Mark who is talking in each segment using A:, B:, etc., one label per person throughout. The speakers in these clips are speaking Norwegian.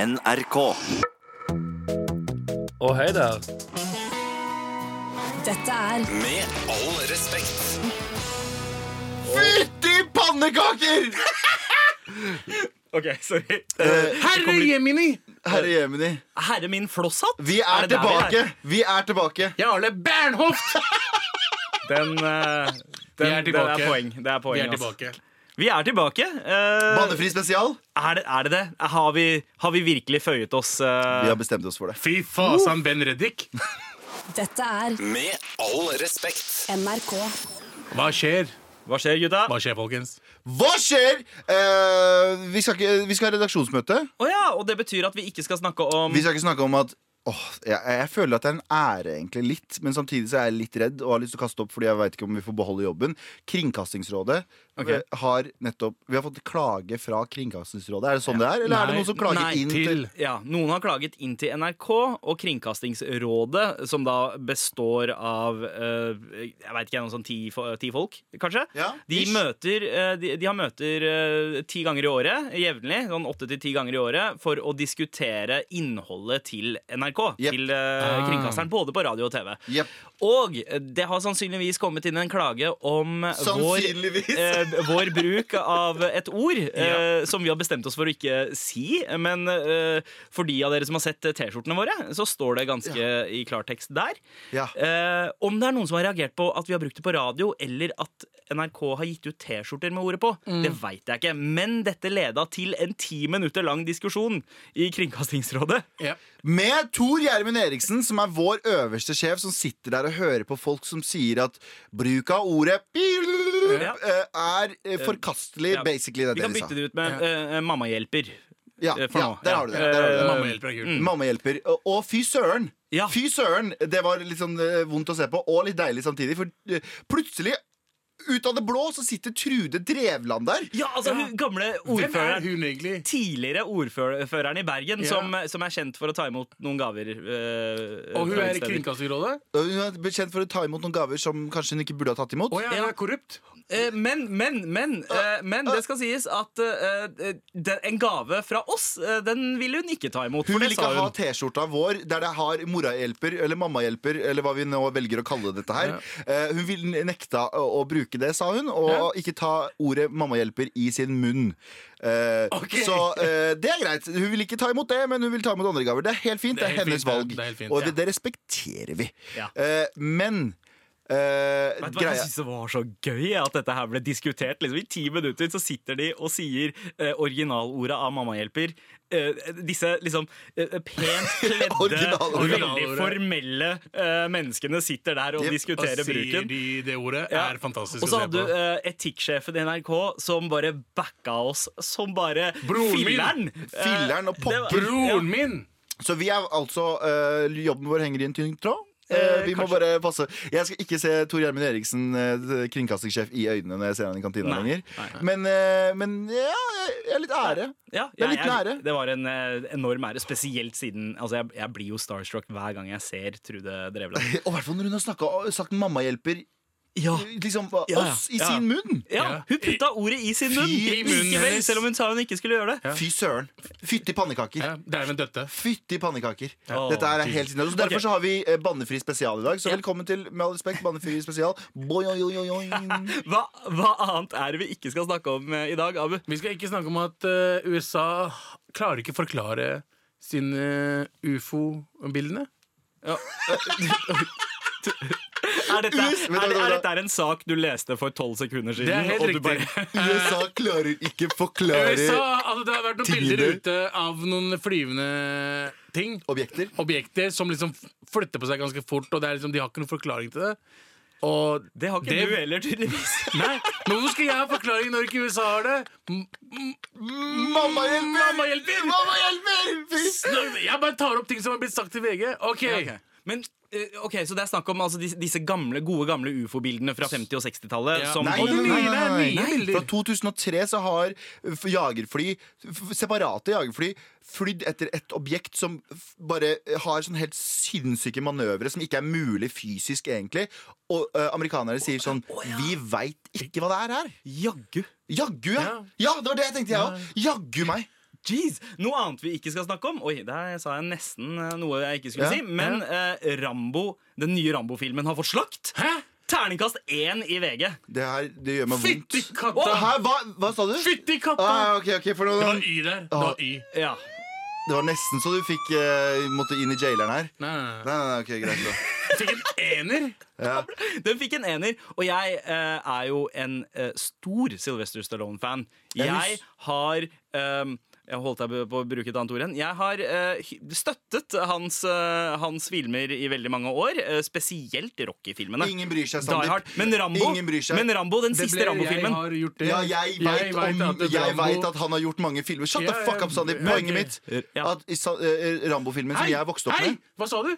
A: NRK.
B: Og hei der.
C: Dette er
D: Med all respekt.
E: Fytti pannekaker!
F: OK, sorry.
E: Herre Jemini! Herre Jemini.
F: Herre min flosshatt?
E: Vi er,
F: det der
E: tilbake! Vi er tilbake.
G: Jarle Bernhoft!
F: Den, eh, den,
G: Vi er
F: den er
G: tilbake.
F: poeng. Det er
G: Vi
F: poeng
G: er
F: ass.
G: tilbake.
F: Vi er tilbake. Eh,
E: Bannefri spesial.
F: er, det, er det det? Har vi, har vi virkelig føyet oss? eh,
E: Vi har bestemt oss for det.
G: Fy fasan, Ben Reddik.
C: Dette er
D: Med all respekt.
C: NRK.
G: Hva skjer?
F: Hva skjer, gutta?
G: Hva skjer, folkens?
E: Hva skjer? Eh, vi, skal ikke, vi skal ha redaksjonsmøte.
F: Å ja, og det betyr at vi ikke skal snakke om
E: Vi skal ikke snakke om at Åh, jeg, jeg føler at det er en ære, egentlig, litt. Men samtidig så er jeg litt redd og har lyst til å kaste opp fordi jeg veit ikke om vi får beholde jobben. Kringkastingsrådet
F: Ok.
E: eh, har nettopp Vi har fått klage fra Kringkastingsrådet. Er det sånn det er? Eller er det
G: Nei,
E: noen som klager
F: nei,
E: inn til
G: Til
F: Ja, Noen har klaget inn til NRK og Kringkastingsrådet, som da består av eh, jeg vet ikke, noen sånn ti, fo- ti folk, kanskje.
E: Ja,
F: de,
E: ish.
F: møter, eh, de, de har møter eh, ti ganger i året, jevnlig, sånn åtte til ti ganger i året, for å diskutere innholdet til NRK,
E: Jep.
F: til eh,
G: Ah.
F: kringkasteren, både på radio og TV.
E: Jep.
F: Og eh, det har sannsynligvis kommet inn en klage om vår
E: Sannsynligvis.
F: eh, vår bruk av et ord eh, som vi har bestemt oss for å ikke si. Men eh, for de av dere som har sett eh, T-skjortene våre, så står det ganske i klartekst der.
E: Ja.
F: Eh, om det er noen som har reagert på at vi har brukt det på radio, eller at NRK har gitt ut T-skjorter med ordet på,
E: Mm.
F: det veit jeg ikke. Men dette leda til en ti minutter lang diskusjon i Kringkastingsrådet.
G: ja.
E: Med Tor Gjermund Eriksen, som er vår øverste sjef, som sitter der og hører på folk som sier at bruk av ordet
F: Ja.
E: eh, er eh, forkastelig,
F: Ja.
E: basically. Det er
F: Vi kan
E: det de sa.
F: bytte det ut med eh, mammahjelper.
E: Ja,
F: eh, for
E: ja,
F: nå.
E: der
F: Ja. Eh,
E: har du det. Der har du det. Mm.
G: Mamma hjelper deg,
F: Mm.
G: gull.
E: Mamma hjelper. Og, og fy søren!
F: Ja.
E: Fy søren! Det var litt sånn eh, vondt å se på, og litt deilig samtidig, for eh, plutselig, ut av det blå, så sitter Trude Drevland der.
F: Ja, altså, hun gamle
G: Hvem
F: ordføreren.
G: er hun egentlig?
F: tidligere ordføreren i Bergen,
G: Ja.
F: som, som er kjent for å ta imot noen gaver. eh,
G: Og hun
F: fra
G: er i
F: utsteder.
G: Kringkastingsrådet?
E: Og Hun er bekjent for å ta imot noen gaver som kanskje hun ikke burde ha tatt imot.
G: Å ja, hun er korrupt?
F: Eh, Men, men, men, eh, men det skal sies at eh, eh, den- en gave fra oss, eh, den ville hun ikke ta imot.
E: Hun
F: for
E: vil
F: det
E: ikke
F: sa
E: ha T-skjorta vår der det har morahjelper eller mammahjelper. Eller hva vi nå velger å kalle dette her Eh, Hun vil nekta å, å bruke det, sa hun, og ikke ta ordet mammahjelper i sin munn. Eh,
G: Ok.
E: Så eh, det er greit. Hun vil ikke ta imot det, men hun vil ta imot andre gaver. Det er helt fint. Det er,
G: helt
E: hennes
G: fint, det er-
E: valg.
G: det er helt fint,
E: og
G: ja.
E: det, det respekterer vi.
F: Ja.
E: Eh, men eh,
F: Vet du hva, jeg
E: greia
F: synes det var så gøy at dette her ble diskutert. Liksom, I ti minutter så sitter de og sier eh, originalordet av Mammahjelper. Eh, disse liksom eh, pent kledde,
E: Originalordet.
F: veldig formelle eh, menneskene sitter der og
E: Jep, og
G: Og
F: diskuterer
G: sier
F: bruken.
G: de det ordet?
F: Ja.
G: Er fantastisk
F: Og
G: å
F: så
G: se
F: hadde du
G: på.
F: eh, etikksjefen i NRK som bare backa oss som bare
G: Broren min!
F: filleren.
E: Filleren og
F: Eh, det var-
E: popper.
G: Broren min!
E: Så vi er altså eh, Jobben vår henger i en tynn tråd. Eh,
F: Eh,
E: vi må
F: kanskje.
E: bare passe Jeg skal ikke se Tor Gjermund Eriksen, eh, kringkastingssjef, i øynene når jeg ser han i kantina
F: Nei,
E: lenger.
F: nei,
E: Men, eh, men ja, jeg er litt ære.
F: Eh, Ja,
E: Det er
F: jeg-
E: en liten ære.
F: jeg- Det var en eh, enorm ære, spesielt siden altså jeg, jeg blir jo starstruck hver gang jeg ser Trude Drevland.
E: Og i hvert fall når hun har snakket, sagt 'mammahjelper'
F: Ja.
E: liksom,
F: Ja, ja.
E: oss i
F: Ja.
E: sin munn.
F: Ja, Hun putta ordet i sin munn,
E: I
G: munnen
F: likevel,
G: hennes.
F: selv om hun sa hun ikke skulle gjøre det.
E: Fy søren. Fytti pannekaker.
G: Ja, Dæven døtte.
E: Fytti pannekaker.
F: Ja.
E: Dette her er helt sinnssykt. Så Derfor
F: Ok.
E: så har vi eh, bannefri spesial i dag. Så
F: Ja.
E: velkommen til, med all respekt, bannefri spesial. Boing, oing, oing, oing.
F: Hva, hva annet er det vi ikke skal snakke om eh, i dag, Abu?
G: Vi skal ikke snakke om at eh, USA klarer ikke forklare sine ufo-bildene.
F: Er dette,
E: Yes, men da-
F: er,
E: da-
F: er
E: da-
F: dette her en sak du leste for tolv sekunder siden?
G: Det er helt
F: Mm. og du
G: riktig.
F: bare-
E: USA klarer ikke forklare
G: USA, altså, det har vært noen
E: Tider.
G: bilder ute av noen flyvende ting.
E: objekter.
G: Objekter som liksom flytter på seg ganske fort, og det er liksom, de har ikke noen forklaring til det. Og
F: det har ikke
G: Det-
F: du heller, tydeligvis.
G: Nei, men Hvorfor skal jeg ha forklaring når ikke USA har det? M-
E: Mamma hjelper!
G: Mamma hjelper!
E: Mamma hjelper! Fy s-
G: Jeg bare tar opp ting som har blitt sagt i VG. Ok,
F: Men eh, ok, Så det er snakk om altså, disse, disse gamle, gode gamle ufo-bildene fra 50- og 60-tallet?
G: Ja.
F: som-
G: Nei, Og det nye, det er nye bilder.
E: Fra 2003 så har f- jagerfly, f- separate jagerfly, flydd etter et objekt som f- bare har sånn helt sinnssyke manøvre som ikke er mulig fysisk, egentlig. Og eh, amerikanere sier sånn Vi veit ikke hva det er her.
F: Jaggu.
E: Jaggu, ja.
G: Ja.
E: ja! Det var det jeg tenkte, jeg òg. Jaggu meg.
F: Jeez! Noe annet vi ikke skal snakke om. Oi, der sa jeg nesten eh, noe jeg ikke skulle
E: Ja,
F: si. Men eh, Rambo, den nye Rambo-filmen har fått slakt.
G: Hæ?
F: Terningkast én i VG.
E: Det her det gjør meg vondt.
G: Fytti
E: Å,
G: katta!
E: hæ, hva, hva sa du?
G: Fytti katta!
E: Ah, ok, ok, for
G: Det var
E: det,
G: Y der. Det var Y.
F: Ja.
E: det var nesten så du fikk eh, måtte inn i jaileren her.
G: Nei, nei, nei.
E: Nei, nei, nei, ok, greit da.
G: Fikk en ener.
E: Ja.
F: Den fikk en ener, og jeg eh, er jo en eh, stor Sylvester Stallone-fan.
E: Jeg
F: Jeg
E: hus-
F: har ehm, jeg holdt deg på å bruke et annet ord igjen. Jeg har eh, hy- støttet hans, eh, hans filmer i veldig mange år, eh, spesielt Rocky-filmene.
E: Ingen bryr seg,
F: Die Hard.
E: Sandeep.
F: Men Rambo,
E: Ingen bryr seg.
F: men Rambo den
G: Det
F: siste
G: ble- Jeg
F: Rambo-filmen
G: har gjort det.
E: Ja, jeg
G: Jeg vet
E: veit
G: at
E: at,
G: det Rambo-
E: at han har gjort mange filmer. Shut
G: Ja,
E: the
G: ja,
E: fuck up, Sandeep.
G: ja, ok.
E: Poenget mitt
F: Ja.
E: at i Sa- eh, Rambo-filmen som
G: Hei,
E: jeg vokste opp
G: hei,
E: med
G: Hva sa du?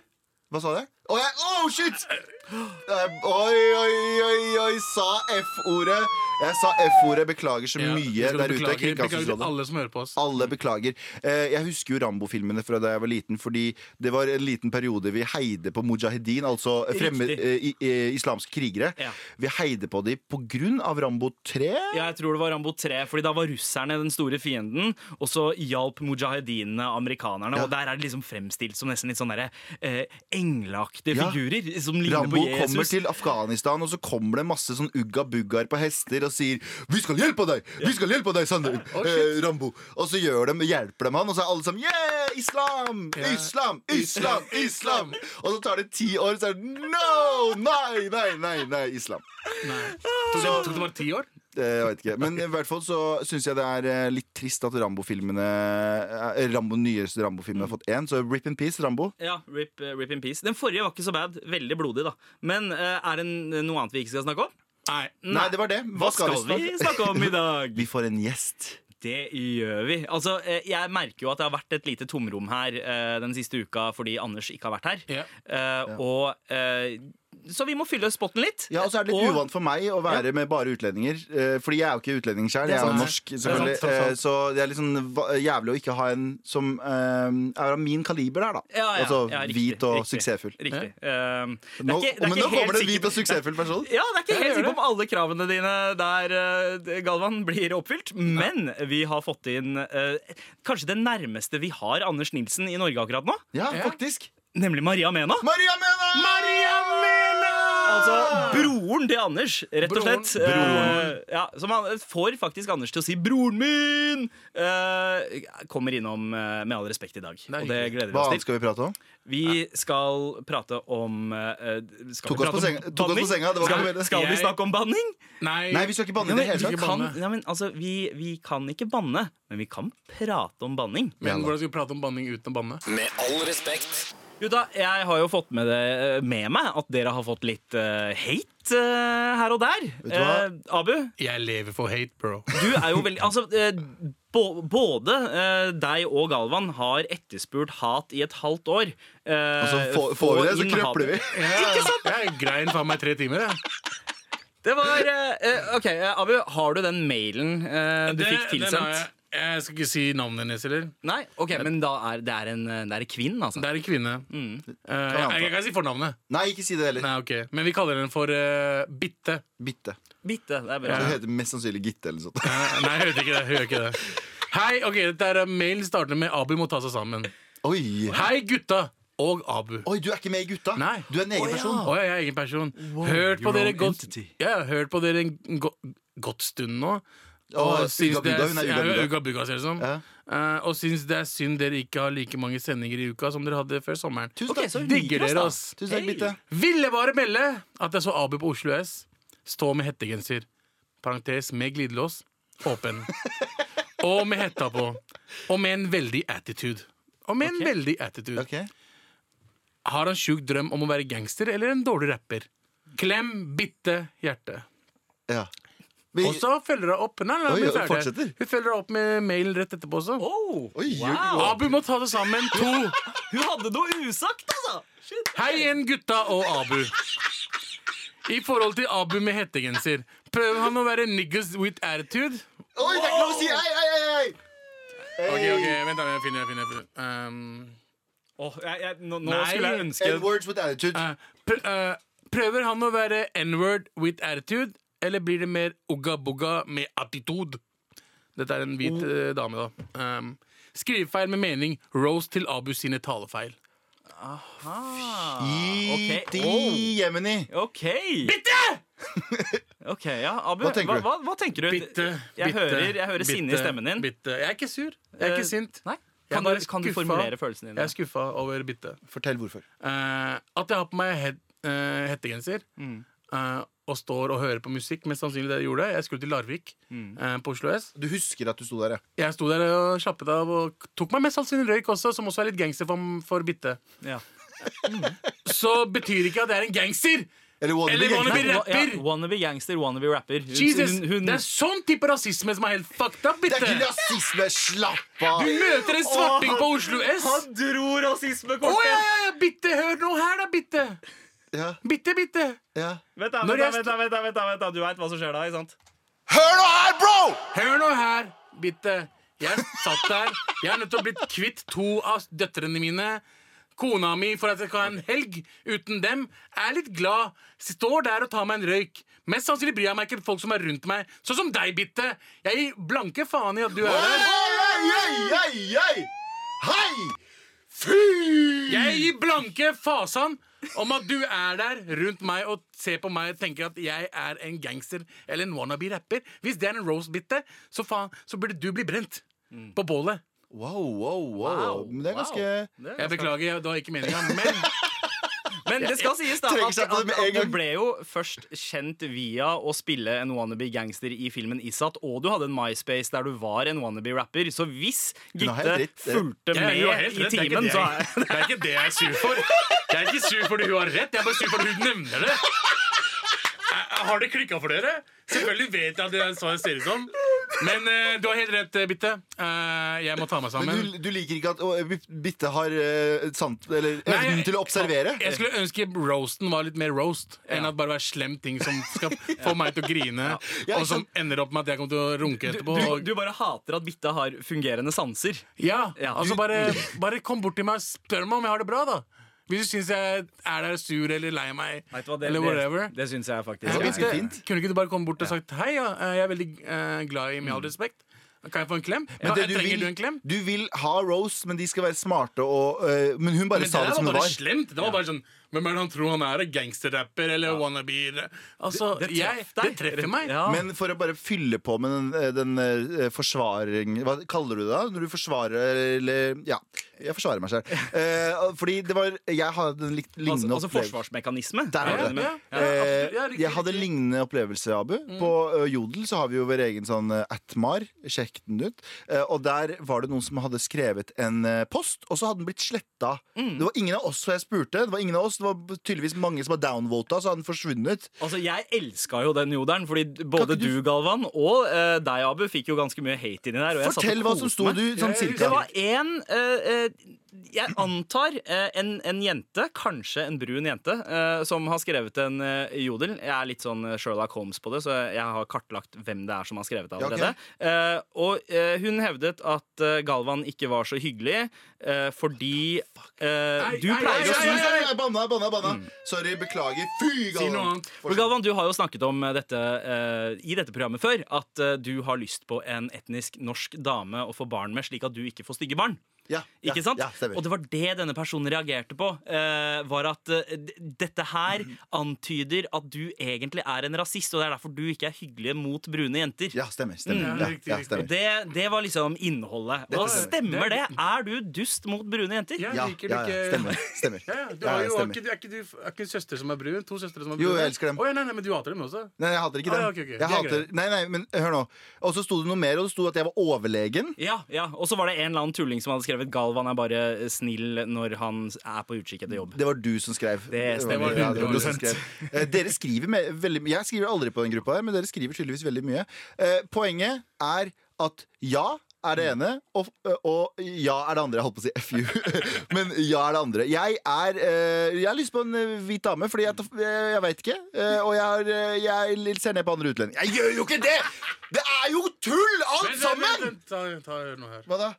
E: Hva sa jeg? Å, jeg, oh, shit! Jeg, oi, oi, oi, oi, sa F-ordet. Jeg sa F-ordet. Beklager så
G: Ja, vi
E: mye
G: skal
E: der ute.
G: beklage- Beklager til
E: Kringkastingsrådet.
G: alle som hører på oss.
E: Alle
F: Mm.
E: beklager. Eh, Jeg husker jo Rambo-filmene fra da jeg var liten, fordi det var en liten periode vi heide på mujahedin, altså fremmed,
F: Riktig.
E: eh, i, eh, islamske krigere.
F: Ja.
E: Vi heide på dem på grunn av Rambo 3.
F: Ja, jeg tror det var Rambo 3, fordi da var russerne den store fienden, og så hjalp mujahedinene amerikanerne, og der er det liksom fremstilt som nesten litt sånn derre eh, engleaktige
E: Ja.
F: figurer som ligner
E: Rambo
F: på Jesus.
E: kommer til Afghanistan, og så kommer det masse sånn ugga-buggaer på hester og sier 'Vi skal hjelpe deg! Vi skal hjelpe deg, Sander!
F: Oh,
E: eh, Rambo!' Og så gjør de, hjelper de han, og så er alle sammen 'Yeah! Islam!
G: Ja.
E: Islam! Islam! Islam!' Og så tar det ti år, så er det 'No! Nei, nei, nei, nei! Islam!'
G: Nei. Tok det, tok det bare ti år?
E: Eh, Jeg vet ikke. Men i hvert fall så syns jeg det er eh, litt trist at Rambo-filmene eh, Rambo, nyeste Rambo-filmen har fått én, så rip in peace, Rambo.
F: Ja, rip, eh, rip in peace. Den forrige var ikke så bad. Veldig blodig, da. Men eh, er det n- noe annet vi ikke skal snakke om?
G: Nei.
E: Nei, det var det. Hva,
F: Hva skal vi snakke om i dag?
E: Vi får en gjest.
F: Det gjør vi. Altså, eh, Jeg merker jo at det har vært et lite tomrom her eh, den siste uka fordi Anders ikke har vært her.
G: Ja.
F: Eh, Og eh, Så vi må fylle spotten litt.
E: Ja, og så er det litt uvant for meg å være med bare utlendinger. eh, Fordi jeg er jo ikke utlending sjøl. Jeg er jo
G: sant.
E: norsk,
G: Det er sant,
E: selvfølgelig.
G: det er sant.
E: Eh, Så det er litt sånn va- jævlig å ikke ha en som eh, er av min kaliber der, da.
F: Ja, ja,
E: altså
F: ja, riktig,
E: hvit og
F: riktig,
E: suksessfull.
F: Riktig. Eh, det er
E: Nå,
F: ikke- det er
E: men
F: ikke
E: nå
F: helt
E: kommer det en
F: sikkert-
E: hvit og suksessfull person.
F: Ja, det er ikke helt
G: gjør
F: sikkert om alle kravene dine der, eh, Galvan, blir oppfylt. Men vi har fått inn eh, kanskje det nærmeste vi har Anders Nilsen i Norge akkurat nå.
E: Ja,
G: Ja.
E: faktisk.
F: Nemlig Maria Mena.
E: Maria Mena!
F: Altså broren til Anders, rett og
G: Broren.
F: slett. Eh, ja, som han eh, får faktisk Anders til å si 'broren min'. eh, kommer innom eh, med all respekt i dag.
G: er
F: og det gleder vi
E: Hva
F: oss til.
E: annet skal vi prate om?
G: Eh,
F: Vi skal prate om eh,
E: Tok
F: skal vi
E: oss på
F: prate om
E: senga- tok oss på
F: banning?
E: senga, det var ikke
F: Skal,
E: veldig-
F: skal vi
G: Jeg-
F: snakke om banning?
G: Nei.
E: Nei, vi skal ikke banne i det hele
G: vi
E: tatt.
F: Vi
G: ikke
F: kan,
G: banne.
F: ja, men, altså, vi, vi kan ikke banne, men vi kan prate om banning.
G: Men hvordan skal vi prate om banning uten å banne?
D: Med all respekt.
F: Gutta, jeg har jo fått med, det, eh, med meg at dere har fått litt eh, hate eh, her og der.
E: du hva?
F: Eh, Abu,
G: Jeg lever for hate, bro.
F: du er jo veldig Altså, eh, bå- både eh, deg og Galvan har etterspurt hat i et halvt år. Eh,
E: Og så Altså, får, får vi det, så
F: inn hat.
E: krøpler vi.
G: Ikke sant? Jeg grein faen meg tre timer. Jeg.
F: Det var eh, eh, OK, eh, Abu, har du den mailen eh, du
G: Det-
F: fikk
G: den har
F: tilsendt?
G: jeg. jeg skal ikke si navnet hennes, eller?
F: Nei? OK, men da er det er en, det er en kvinne, altså.
G: Det er en kvinne.
E: Mm.
G: Eh,
E: Kan
G: jeg, jeg kan si fornavnet.
E: Nei, ikke si det heller.
G: Nei, ok Men vi kaller henne for eh, Bitte.
E: Bitte.
F: Bitte. Det er bra.
E: Hun heter mest sannsynlig Gitte eller noe sånt.
G: Eh, Nei, jeg hørte ikke det. Jeg hører ikke det. Hei, ok, dette er eh, Mailen starter med Abu må ta seg sammen.
E: Oi.
G: Hei, gutta og Abu.
E: Oi, du er ikke med i Gutta?
G: Nei.
E: Du er en egen person?
G: Å, jeg er egen person. Hørt på
F: your
G: dere
F: own
G: godt
F: entity.
G: Jeg har hørt på dere en go godt stund nå.
E: Å,
G: syns
E: Uga
G: det
E: Buga, hun er Uga
G: ja,
E: Buga.
G: Uga Buga, ser det som.
E: Ja.
G: Eh, og syns det er synd dere ikke har like mange sendinger i uka som dere hadde før sommeren.
E: Tusen
F: Ok,
E: takk.
F: så hun
G: Digger
F: liker oss,
G: dere
F: da.
G: oss.
E: Tusen takk,
F: Hei.
E: Bitte.
G: Ville bare melde at jeg så Abu på Oslo S stå med hettegenser, parentes med glidelås, åpen, og med hetta på, og med en veldig attitude. Og med en veldig attitude.
E: Ok.
G: Har han sjuk drøm om å være gangster eller en dårlig rapper? Klem bitte hjerte.
E: Ja. Vi,
G: Og så følger hun opp. Nei, nei,
E: Oi,
G: men
E: oi,
G: så er det-
E: fortsetter.
G: Hun følger opp med mailen rett etterpå også.
F: Oh,
E: Oi, oi,
F: wow.
G: Abu må ta det sammen. To.
F: Hun hadde noe usagt, altså! Shit.
G: Hei igjen, gutta og Abu. I forhold til Abu med hettegenser, prøver han å være niggas with attitude?
E: Oi, det er ikke lov å si hei, hei, hei, hei!
G: Ok, ok, vent da, jeg finner, jeg finner, jeg finner. Um,
F: Åh, jeg, jeg, nå nå
G: Nei,
F: skulle jeg ønske
E: N-words with attitude.
G: eh, pr eh, prøver han å være n-word with attitude, eller blir
F: Oh.
G: det mer ugga-bugga med attitude? Dette er en hvit eh, dame, da. Um, Skrivefeil med mening. Rose til Abu sine talefeil.
E: I
F: ok.
E: de
F: Oh.
E: Jemini.
F: Ah. OK. Bitte! OK, ja. Abu,
E: Hva tenker du?
F: Hva, hva tenker du?
G: Bitte,
F: jeg
G: bitte,
F: hører, jeg hører sinne i
G: bitte,
F: stemmen din.
G: Bitte. Jeg er ikke sur. Jeg er
F: Eh,
G: ikke sint.
F: Nei?
G: Jeg er
F: Kan,
G: bare
F: du, kan du
G: skuffa.
F: formulere følelsene
G: Jeg
F: dine?
G: er skuffa over bitte.
E: Fortell hvorfor.
G: Eh, at jeg har på meg het, eh, hettegenser
F: Mm.
G: eh, og står og hører på musikk, mest sannsynlig det jeg gjorde. Jeg skulle til Larvik
F: Mm.
G: eh, på Oslo S.
E: Du husker at du sto der, ja.
G: Jeg sto der og slappet av og tok meg mest sannsynlig røyk også, som også er litt gangster for, for bitte.
F: Ja.
G: Så betyr ikke at jeg er en gangster!
E: Eller wannabe
G: Eller
E: gangster.
G: wannabe
F: Nei,
G: rapper!
F: ja, wannabe gangster, wannabe rapper. Hun,
G: Jesus!
F: hun, hun,
G: Det er sånn type rasisme som er helt fucked up,
E: Det er
G: bitte!
E: ikke rasisme! Slapp av!
G: Du møter en svarting på Oslo S! Å,
F: dro rasismekortet!
G: ja, ja, ja, bitte! Hør nå her, da, bitte!
E: Ja,
G: Bitte, bitte!
E: ja.
F: Vent, da,
G: Når
F: vent, da,
G: jeg
F: vent, da, vent, da, vent, da, vent da. Du veit hva som skjer da, ikke sant?
E: Hør nå her, bro!
G: Hør nå her, bitte. Jeg satt der. Jeg er nødt til å bli kvitt to av døtrene mine. Kona mi, for at jeg skal ha en helg uten dem, er litt glad. Står der og tar meg en røyk. Mest sannsynlig bryr jeg meg ikke om folk som er rundt meg. Sånn som deg, bitte. Jeg gir blanke faen i at du er
E: Hei,
G: her.
E: hei, hei, hei! Hei! Fy!
G: Jeg gir blanke fasan om at du er der rundt meg og ser på meg og tenker at jeg er en gangster eller en wannabe-rapper. Hvis det er en rose, bitte, så faen, så burde du bli brent. På bålet.
E: Wow, wow, wow. Men det er ganske
G: Jeg beklager, jeg- det var ikke meninga, men
F: Men det skal sies da
E: Trenger
F: at,
E: seg på det
F: at,
E: med en
F: at du
E: gang.
F: ble jo først kjent via å spille en wannabe gangster i filmen Isat, og du hadde en MySpace der du var en wannabe rapper. Så hvis
E: Hun har helt
F: Gitte
E: rett, det-
F: fulgte
G: Jeg er jo
F: med
G: helt
F: i
G: rett, det er ikke
F: timen,
G: det
F: så
G: jeg- Det er ikke det jeg er sur for. Jeg er ikke sur fordi hun har rett, jeg er bare sur fordi hun nevner det. Jeg- Har det klikka for dere? Selvfølgelig vet jeg at det er sånn jeg ser ut som. Men eh, du har helt rett, eh, Bitte. Eh, jeg må ta meg sammen.
E: Men du, du liker ikke at å, Bitte har eh, sant, eller,
G: Nei,
E: evnen til å observere?
G: Jeg skulle ønske roasten var litt mer roast enn
F: Ja.
G: at bare være slem ting som skal få meg til å grine,
E: Ja,
G: og som ender opp med at jeg kommer til å runke etterpå.
F: du,
G: og-
F: du bare hater at Bitta har fungerende sanser.
G: Ja,
F: Ja.
G: altså
F: Du-
G: bare, bare kom bort til meg og spør meg om jeg har det bra, da. Hvis du syns jeg er der sur eller lei meg,
F: Vet du hva, det,
G: eller whatever.
F: det, det syns jeg faktisk.
E: var
F: er-
E: ganske fint.
G: Kunne ikke du bare komme bort og sagt hei, ja, jeg er veldig eh, glad i Med all respekt. Kan jeg få en klem?
E: Men
G: Kan,
E: det
G: trenger du en klem?
E: du vil ha Rose, men de skal være smarte og eh, Men hun bare
G: Men
E: sa
G: der
E: det som det var.
G: slemt. Det var bare sånn Hvem er det han tror han er? Gangsterrapper eller wannabe? Altså,
F: det
G: jeg-
F: traff deg.
G: det treffer meg.
F: Ja.
E: Men for å bare fylle på med den, eh, den eh, forsvaring Hva kaller du det da? Når du forsvarer eller Ja, jeg forsvarer meg selv. Eh, fordi det var Jeg hadde en likt-
F: altså,
E: lignende
F: altså
E: opplevelse.
F: forsvarsmekanisme.
E: Der har
G: Ja,
E: du det.
G: ja, ja, absolutt.
E: Eh,
G: Ja, riktig,
E: jeg hadde
G: riktig. Mm.
E: lignende opplevelse, Abu. På ø, Jodel så har vi jo vår egen sånn eh, atmar. Sjekk den ut. Eh, og der var det noen som hadde skrevet en eh, post, og så hadde den blitt sletta.
G: Mm.
E: Det var ingen av oss som jeg spurte. Det var ingen av oss, det var tydeligvis mange som var downvota, så hadde den forsvunnet.
F: Altså, Jeg elska jo den jodelen, fordi både
E: ikke du-
F: du, Galvan, og eh, deg, Abu, fikk jo ganske mye hate inni der. Og jeg satt og
E: Fortell hva
F: koste
E: som sto,
F: meg.
E: du, sånn
G: Jeg-
E: cirka.
F: Det var en eh, eh, Jeg antar eh, en, en jente, kanskje en brun jente, eh, som har skrevet en eh, jodel. Jeg er litt sånn Sherlock Holmes på det, så jeg har kartlagt hvem det er som har skrevet det
E: Ja, ok.
F: allerede. Eh, og eh, hun hevdet at eh, Galvan ikke var så hyggelig eh, fordi eh,
G: Ei,
F: du
G: ei, ei,
F: pleier å
G: ei,
E: Jeg
G: ei.
F: snu
E: synes jeg- jeg Banna, jeg banna, jeg banna. Sorry, beklager.
G: Mm.
E: Fy,
G: Si noe
E: Galvan.
G: annet.
E: Fortsett.
F: men Galvan, du har jo snakket om eh, dette eh, i dette programmet før. At eh, du har lyst på en etnisk norsk dame å få barn med, slik at du ikke får stygge barn.
E: Ja, ja,
F: Ikke sant?
E: Ja, stemmer.
F: og det var det denne personen reagerte på. eh, var at eh, d- dette her antyder at du egentlig er en rasist, og det er derfor du ikke er hyggelig mot brune jenter.
E: ja, stemmer. stemmer.
G: Mm.
E: Ja,
G: Riktig,
E: ja,
G: riktig.
E: stemmer.
F: Det, det var liksom innholdet. Og
E: Dette
G: stemmer.
F: stemmer det? Er du dust mot brune jenter?
G: Jeg
E: Ja,
G: liker du
E: ja, ja,
G: ikke-
E: stemmer. stemmer.
G: Ja, ja, du
E: Ja,
G: har jo, er,
E: stemmer.
G: ikke, er, ikke du, er ikke søster som er brun? To søstre som er brune?
E: Jo, jeg elsker dem.
G: Å, ja, nei, nei, men du hater dem også?
E: Nei, jeg hater ikke
G: Ah,
E: den.
G: ja, ok, ok. Det
E: Jeg
G: er
E: hater,
G: greit.
E: nei, nei, men eh, hør nå. Og så sto det noe mer, og det sto at jeg var overlegen.
F: Ja, ja. Og så var det en eller annen tulling som hadde skrevet 'Galvan er bare snill når han er på utkikk etter jobb'.
E: Det var du som skrev.
F: Det stemmer.
E: var- ja, det var du som
G: 100%.
E: skrev. Eh, Dere skriver med, veldig mye. Jeg skriver aldri på den gruppa her, men dere skriver tydeligvis veldig mye. Eh, Poenget er at ja er det ene, og, eh, og ja er det andre. Jeg holdt på å si FU, men ja er det andre. Jeg er eh, Jeg har lyst på en eh, hvit dame, fordi jeg, tar- eh, jeg veit ikke. eh, Og jeg, har, eh, jeg ser ned på andre utlendinger. Jeg gjør jo ikke det! Det er jo tull, alt
G: Vent, vent,
E: sammen!
G: vent, ta, ta hør nå her.
E: Hva da?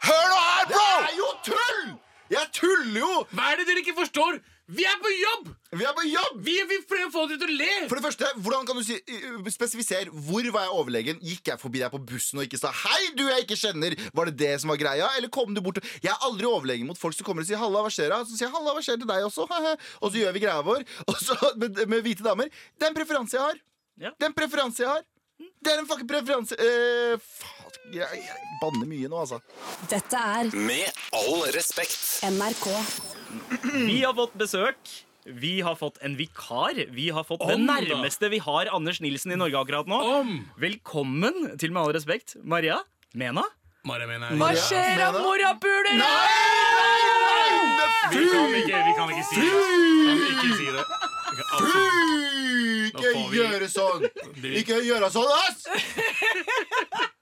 E: Hør nå her, bro! Det er jo tull! Jeg tuller jo!
G: Hva er det dere ikke forstår? Vi er på jobb!
E: Vi er på jobb!
G: Vi vil prøve å få deg til å le!
E: For det første, hvordan kan du si, uh, spesifisere hvor var jeg overlegen? Gikk jeg forbi deg på bussen og ikke sa 'hei, du jeg ikke kjenner'? Var det det som var greia? Eller kom du bort og Jeg er aldri overlegen mot folk som kommer og sier 'halla, hva skjer'a?' Så sier jeg 'halla, hva skjer til deg også?' og så gjør vi greia vår. Og så, med, med hvite damer. Det er en preferanse jeg har.
F: Ja.
E: Det er en preferanse jeg har. Det er en fucking preferanse eh, Faen, jeg, jeg banner mye nå, altså.
C: Dette er
D: Med all respekt.
C: NRK.
F: Vi har fått besøk. Vi har fått en vikar. Vi har fått den
G: Om da.
F: nærmeste vi har Anders Nilsen i Norge akkurat nå.
G: Om!
F: Velkommen til Med all respekt, Maria Mena.
G: Maria mener jeg.
E: Hva skjer av
C: morapulere?
G: Vi kan ikke, vi kan ikke si det. Vi kan ikke si det. Vi kan- altså,
E: Ikke
G: Nå får vi-
E: gjøre sånn!
G: Det-
E: Ikke gjøre sånn, ass!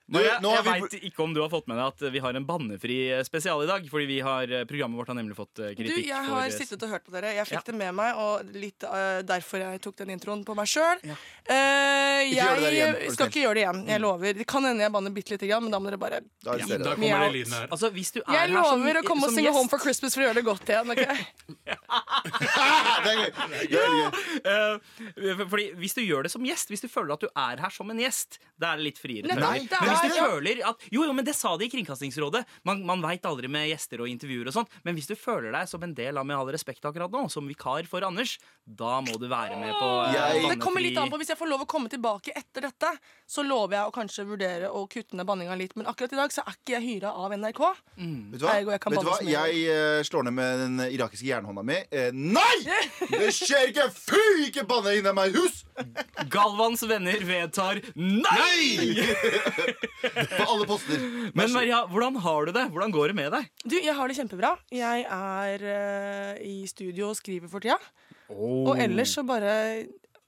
E: Du,
F: Maria,
E: nå
F: jeg
E: har vi
F: veit ikke om du har fått med deg at vi har en bannefri eh, spesial i dag. Fordi vi har, eh, programmet vårt har nemlig fått eh,
A: Du,
F: kritikk.
A: jeg har
F: for-
A: sittet og hørt på dere. Jeg
F: Ja.
A: fikk det med meg, og litt eh, derfor jeg tok den introen på meg sjøl. jeg
E: gjør det der igjen, Mm. er du snill.
A: skal ikke gjøre det igjen. Jeg lover. Det kan hende jeg banner bitte lite grann, men da må dere bare
E: Da er det
G: Da
E: stedet.
G: kommer det lyden her.
F: Altså, hvis du er
A: Jeg
F: her som-
A: lover å komme og
F: som
A: synge
F: gjest-
A: Home for Christmas for å gjøre det godt igjen. ok?
E: Ah, det er gøy. Det er gøy.
F: Eh, for- fordi Hvis du gjør det som gjest, hvis du føler at du er her som en gjest, da er det litt friere.
A: Nei,
F: tøyler.
A: det er
F: men hvis du
A: det.
F: føler at Jo, jo, men det sa de i Kringkastingsrådet. Man, man veit aldri med gjester og intervjuer og sånt. Men hvis du føler deg som en del av Med all respekt akkurat nå, som vikar for Anders, da må du være med på eh,
E: Jeg-
F: bannefri-
A: Det kommer litt an på Hvis jeg får lov å komme tilbake etter dette, så lover jeg å kanskje vurdere å kutte ned banninga litt. Men akkurat i dag så er ikke jeg hyra av NRK.
E: Vet du hva?
A: Ergo, jeg kan
E: Vet du
A: banne
E: hva?
A: som jeg
E: Jeg eh, slår ned med den irakiske jernhånda mi. Eh, nei! Det skjer ikke! Fy, ikke banne inni meg hus!
F: Galvans venner vedtar nei!
E: Nei! På alle poster.
F: Men Maria, hvordan har du det? Hvordan går det med deg?
A: Du, jeg har det kjempebra. Jeg er eh, i studio og skriver for tida.
E: Oh.
A: Og ellers så bare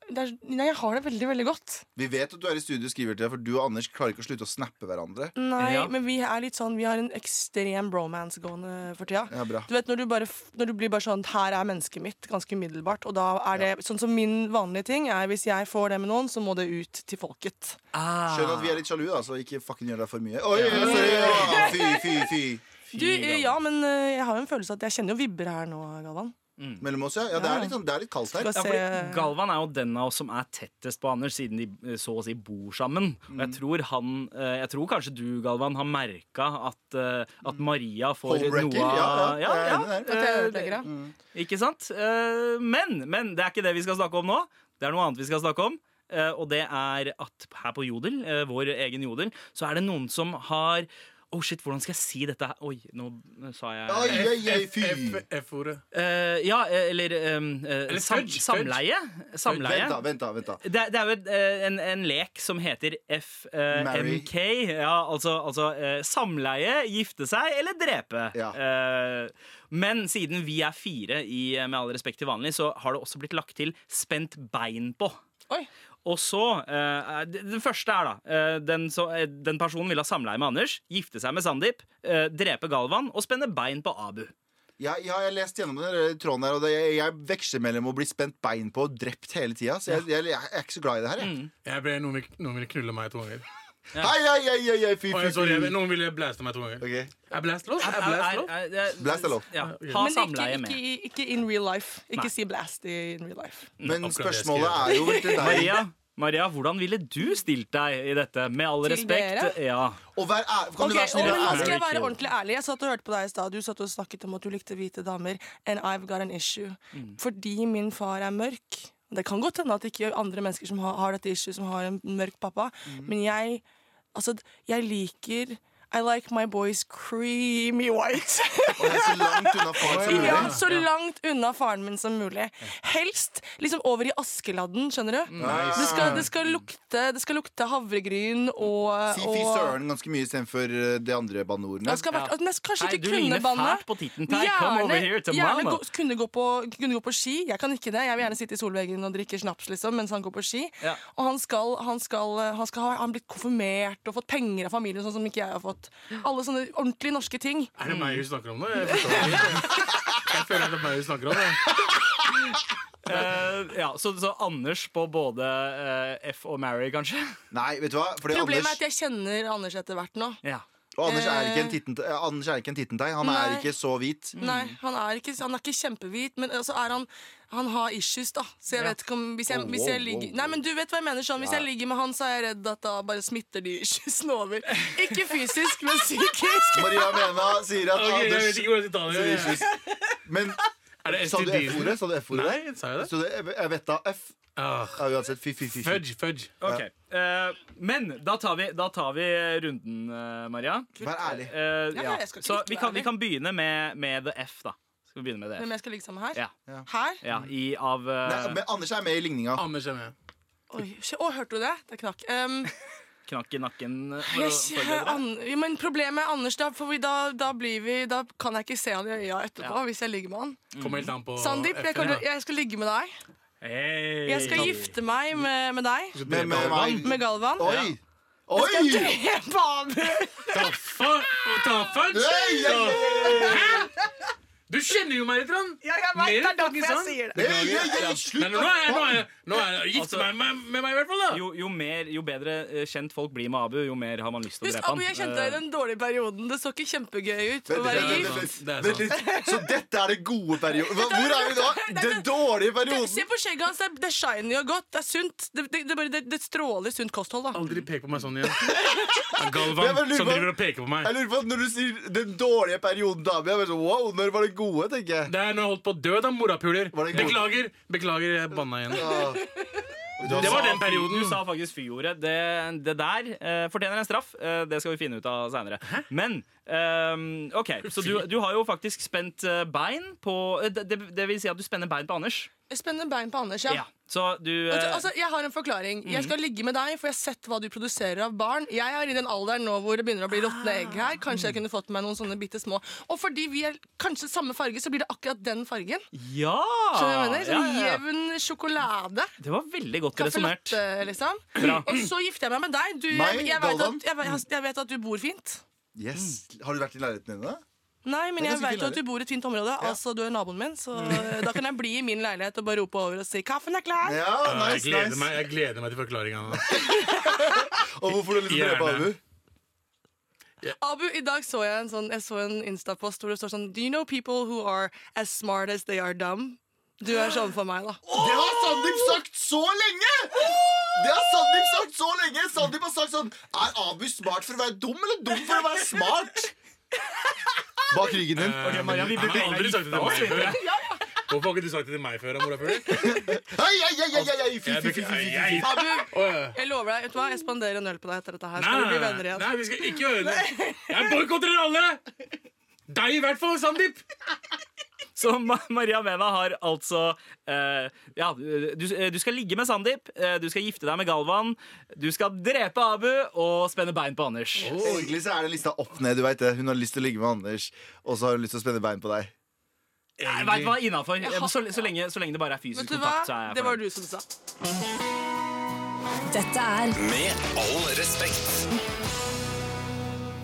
A: det er, Nei, jeg har det veldig, veldig godt.
E: Vi vet at du er i studio og skriver til deg, for du og Anders klarer ikke å slutte å snappe hverandre.
A: Nei,
F: Ja.
A: men vi er litt sånn Vi har en ekstrem bromance gående for tida.
E: Ja, bra.
A: Du vet når du, bare, f- når du blir bare sånn Her er mennesket mitt, ganske umiddelbart. Og da er det sånn som min vanlige ting er hvis jeg får det med noen, så må det ut til folket. Ah.
E: Skjønn at vi er litt sjalu, da, så ikke fucking gjør deg for mye. Oi, sorry, ja. Fy, fy, fy.
A: Du, eh, ja, men eh, jeg har jo en følelse at jeg kjenner jo vibber her nå, Galvan.
E: Mellom oss, ja. ja det, er litt, sånn- det er litt kaldt her.
A: Skal
F: Ja,
A: se
F: fordi Galvan er jo den av oss som er tettest på Anders, siden de eh, så å si bor sammen. Og
E: Mm.
F: jeg tror, han, eh, jeg tror kanskje du, Galvan, har merka at, eh, at Maria får
E: Homewrecker,
F: noe
E: Mm. ja,
F: av
E: ja, jeg er enig der.
A: at jeg er ødeleggere.
E: Mm.
F: Ikke sant? Eh, Men, men det er ikke det vi skal snakke om nå. Det er noe annet vi skal snakke om. eh, Og det er at her på Jodel, eh, vår egen Jodel, så er det noen som har Oh shit, hvordan skal jeg si dette her? Oi, nå sa jeg
E: Oi, oi, oi, fy.
G: F- F-ordet.
F: Eh, Ja, eh, eller, eh, eh,
G: Eller
F: sam,
G: fudge, fudge.
F: samleie. Samleie.
E: Vent, da. vent da, vent da
F: Det, er- det er jo et, eh, en, en lek som heter
E: Marry.
F: FMK. ja, altså, altså eh, samleie, gifte seg eller drepe.
E: Ja.
F: Eh, men siden vi er fire i eh, Med all respekt til vanlig, så har det også blitt lagt til spent bein på.
A: Oi.
F: Og så eh, det, det første er, da eh, den, så, eh, den personen vil ha samleie med Anders, gifte seg med Sandeep, eh, drepe Galvan og spenne bein på Abu.
E: Ja, ja, jeg har lest gjennom den der tråden her, og det, jeg, jeg veksler mellom å bli spent bein på og drept hele tida. Så jeg, jeg, jeg er ikke så glad i det her, jeg.
G: Jeg ble, noen, vil- noen ville knulle meg to ganger.
E: Hei, hei, hei, hei, hei, fy,
G: Oi,
E: fy,
G: sorry, jeg-
E: fy.
G: noen ville blaste meg to ganger.
E: Ok.
G: Er blast lov? Er blast lov?
F: Er- er- er-
E: Blast er lov.
F: Ja, ha
A: Men ikke,
F: samleie
A: ikke,
F: med.
A: i- ikke in real life. Ikke
F: Nei.
A: si blast i in real life.
E: Men
G: akkurat det
E: spørsmålet
G: skal
E: er jo til deg.
F: Maria, Maria, hvordan ville du stilt deg i dette? Med all
A: Til
F: respekt.
A: dere?
F: Ja.
E: Og vær æ- Kan
A: Ok,
E: du være snill
A: og
E: og
A: men
E: ærlig?
A: Skal
F: Very
A: jeg være
F: cute.
A: ordentlig ærlig? Jeg satt og hørte på deg i stad. Du satt og snakket om at du likte hvite damer. And I've got an issue.
F: Mm.
A: Fordi min far er mørk. Og Det kan godt hende at ikke andre mennesker som har, har dette issue, som har en mørk pappa.
F: Mm.
A: Men jeg Altså, jeg liker I like my boys creamy white.
E: Og jeg er så langt unna far som mulig.
A: ja, så langt unna faren min som mulig. Helst liksom over i Askeladden, skjønner du. Det skal, det skal, lukte, det skal lukte havregryn og,
E: Si fy
A: og
E: søren ganske mye istedenfor eh, de andre banneordene.
A: det skal være, at jeg kanskje
F: Hei,
A: ikke
F: du ligner
A: kunne banne.
F: fælt på titten til deg. Come over here to
A: gjerne
F: mama.
A: gå, kunne, gå på, kunne gå på ski. Jeg kan ikke det. Jeg vil gjerne sitte i solveggen og drikke snaps liksom, mens han går på ski.
F: Ja.
A: Og han skal, han skal, han skal ha han har blitt konfirmert og fått penger av familien, sånn som ikke jeg har fått. Alle sånne ordentlige norske ting.
G: Er det meg hun snakker om nå? Jeg, forstår det ikke. jeg føler at det er meg hun snakker om. Jeg.
F: Eh, ja så, så Anders på både eh, F og Mary, kanskje?
E: Nei, vet du hva? Fordi
A: Problemet
E: Anders
A: er at jeg kjenner Anders etter hvert nå.
F: Ja.
E: Og Anders er ikke en titten- eh, Anders er ikke en tittentei. Han er
A: Nei.
E: ikke så hvit.
A: Nei, han er ikke, han er ikke kjempehvit, men altså er han han har issues, da. Så jeg vet ikke om Hvis jeg,
E: Wow,
A: hvis jeg
E: wow,
A: ligger
E: wow.
A: Nei, men du vet hva jeg mener. sånn Hvis jeg ligger med han, så er jeg redd at da bare smitter de issuesene over. Ikke fysisk, men psykisk.
E: Maria Mena sier at Anders
G: ikke hvordan du
E: sier kyss. Men
G: Er det
E: sa du
G: STD?
E: F-ordet? Sa du F-ordet?
G: Nei, sa jeg det?
E: Så det, jeg vet da F.
G: Ah,
E: Ja, uansett, fy, fy, fy. fy.
G: fudge, fudge.
F: Ok, eh, Men da tar vi, da tar vi runden, eh, Maria.
E: Vær ærlig.
F: Eh,
A: ja,
F: ja.
A: jeg skal ikke
F: Så vi kan,
A: være
F: vi kan begynne med, med The F, da. Skal vi begynne med The F?
A: Hvem jeg skal ligge sammen med her?
F: Ja,
A: Her?
F: ja i, av eh,
E: Nei, altså, men Anders er med i ligninga.
G: Anders er med.
A: Oi, shit. Å, hørte du det? Det knakk. Um,
F: knakk i nakken. eh, for å
A: jeg,
F: forberede deg.
A: an, ja, men problemet er Anders, da, for vi, da, da, blir vi, da kan jeg ikke se han i øya etterpå
F: Ja.
A: hvis jeg ligger med han.
G: Kommer helt an på
A: Sandeep, jeg, kan,
G: FN, ja.
A: jeg skal ligge med deg.
F: Hey.
A: Jeg skal gifte meg med, med deg.
E: Med, med meg.
A: Med Galvan.
E: Oi! Oi!
G: Ta for- ta fudge!
E: Hey, jeg-
G: Du kjenner jo meg litt, Ron.
A: Det er derfor jeg sier det.
E: Hey, hey, hey,
G: Men
E: Slutt!
G: nå er jeg, nå er jeg, nå er jeg gift
F: Altså-
G: meg med, med meg, i hvert fall. da
F: Jo, jo, mer, jo bedre eh, kjent folk blir med Abu, jo mer har man lyst til å
A: Husk,
F: drepe
A: Abu, jeg kjente deg i
F: han. Eh,
A: den dårlige perioden. Det så ikke kjempegøy ut å være
G: vent,
A: gift.
G: vent. Det er
E: Vent litt. Så dette er det gode perioden? Hva- Hvor er vi da? Den dårlige
A: Se
E: perioden?
A: på skjegget hans. Det er- Det er shiny og godt. Det er sunt. Det, det, det, bare- det, det stråler sunt kosthold, da.
G: Aldri pek på meg sånn igjen.
E: Jeg
G: Galvan
E: bare lurer
G: som
E: på-
G: driver og peker på meg.
E: Jeg lurer på at Når du sier 'den dårlige perioden', dame, jeg bare sånn, wow, når var det gode? tenker jeg
G: Det er når jeg holdt på å dø av morapuler.
E: Var det god-
G: Beklager, beklager, jeg banna igjen.
E: Ja.
G: Det var
F: sa
G: den
F: fy-
G: perioden.
F: Du sa faktisk fy-ordet. Det, det der eh, fortjener en straff. Eh, det skal vi finne ut av seinere. Men eh, OK, så du, du har jo faktisk spent eh, bein på eh, det, det- det vil si at du spenner bein på Anders.
A: Spennende bein på Anders, ja.
F: Ja. Mm. Så du
A: Vet du,
F: eh,
A: Altså, jeg har en forklaring. Jeg skal ligge med deg, for jeg har sett hva du produserer av barn. Jeg er i den alderen nå hvor det begynner å bli råtne egg
F: Ah.
A: her. Kanskje jeg kunne fått meg noen sånne bitte små. Og fordi vi er kanskje samme farge, så blir det akkurat den fargen.
F: Ja!
A: Skjønner du hva jeg mener? Sånn
F: Ja, ja, ja.
A: jevn sjokolade.
F: Det var veldig godt
A: Kaffe
F: resonnert.
A: latte, liksom. Og så gifter jeg meg med deg. Du,
E: Meg,
A: jeg, jeg, vet
E: Galvan?
A: at, jeg, vet- jeg vet at du bor fint.
E: Yes. Har du vært i leiligheten din
G: Mm.
E: da?
A: Nei, men
E: Det er
A: jeg
E: ganske
A: vet
E: fin Mm.
A: at du bor i et fint område. Altså, Du er naboen min, så eh, da kan jeg bli i min leilighet og bare rope over og si 'kaffen er klar'.
E: Ja,
G: Jeg
E: nice,
G: gleder,
E: nice.
G: meg, jeg gleder meg til forklaringa.
E: Og hvorfor du liksom drepe
G: Gjerne.
E: Abu?
A: Abu, i dag så jeg en sånn Jeg så en Insta-post hvor det står sånn Do you know people who are as smart as they are dumb? Du er sånn for meg, da.
E: Det har Sandeep sagt så lenge! Det har Sandeep sagt så lenge Sandeep har sagt sånn Er Abu smart for å være dum, eller dum for å være smart? Bak ryggen din.
F: Ok, Maria, vi
G: Han
F: burde
G: har aldri sagt
F: egentlig
G: det til meg før. Hvorfor har ikke du sagt det til meg før? morapuler?
E: Hei, hei, hei, hei, hei, fy, fy, fy, fy, fy.
G: Nei,
A: Abu,
G: Åh.
A: jeg lover deg, vet du hva? jeg spanderer en øl på deg etter dette her. Skal vi bli
G: nei,
A: venner igjen?
G: nei, vi skal ikke gjøre det. Jeg boikotter dere alle! Deg i hvert fall, Sandeep.
F: Så Ma- Maria Mena har altså eh, Ja, du, eh, du skal ligge med Sandeep, eh, du skal gifte deg med Galvan, du skal drepe Abu og spenne bein på Anders.
E: Egentlig så er den lista opp ned. du vet det Hun har lyst til å ligge med Anders, og så har hun lyst til å spenne bein på deg.
F: Jeg vet hva innafor. Så, så, lenge- så lenge det bare er fysisk
A: Vet du hva?
F: kontakt, så er jeg
A: Det var
F: fornøyd.
A: du som sa.
C: Dette er
D: Med all respekt.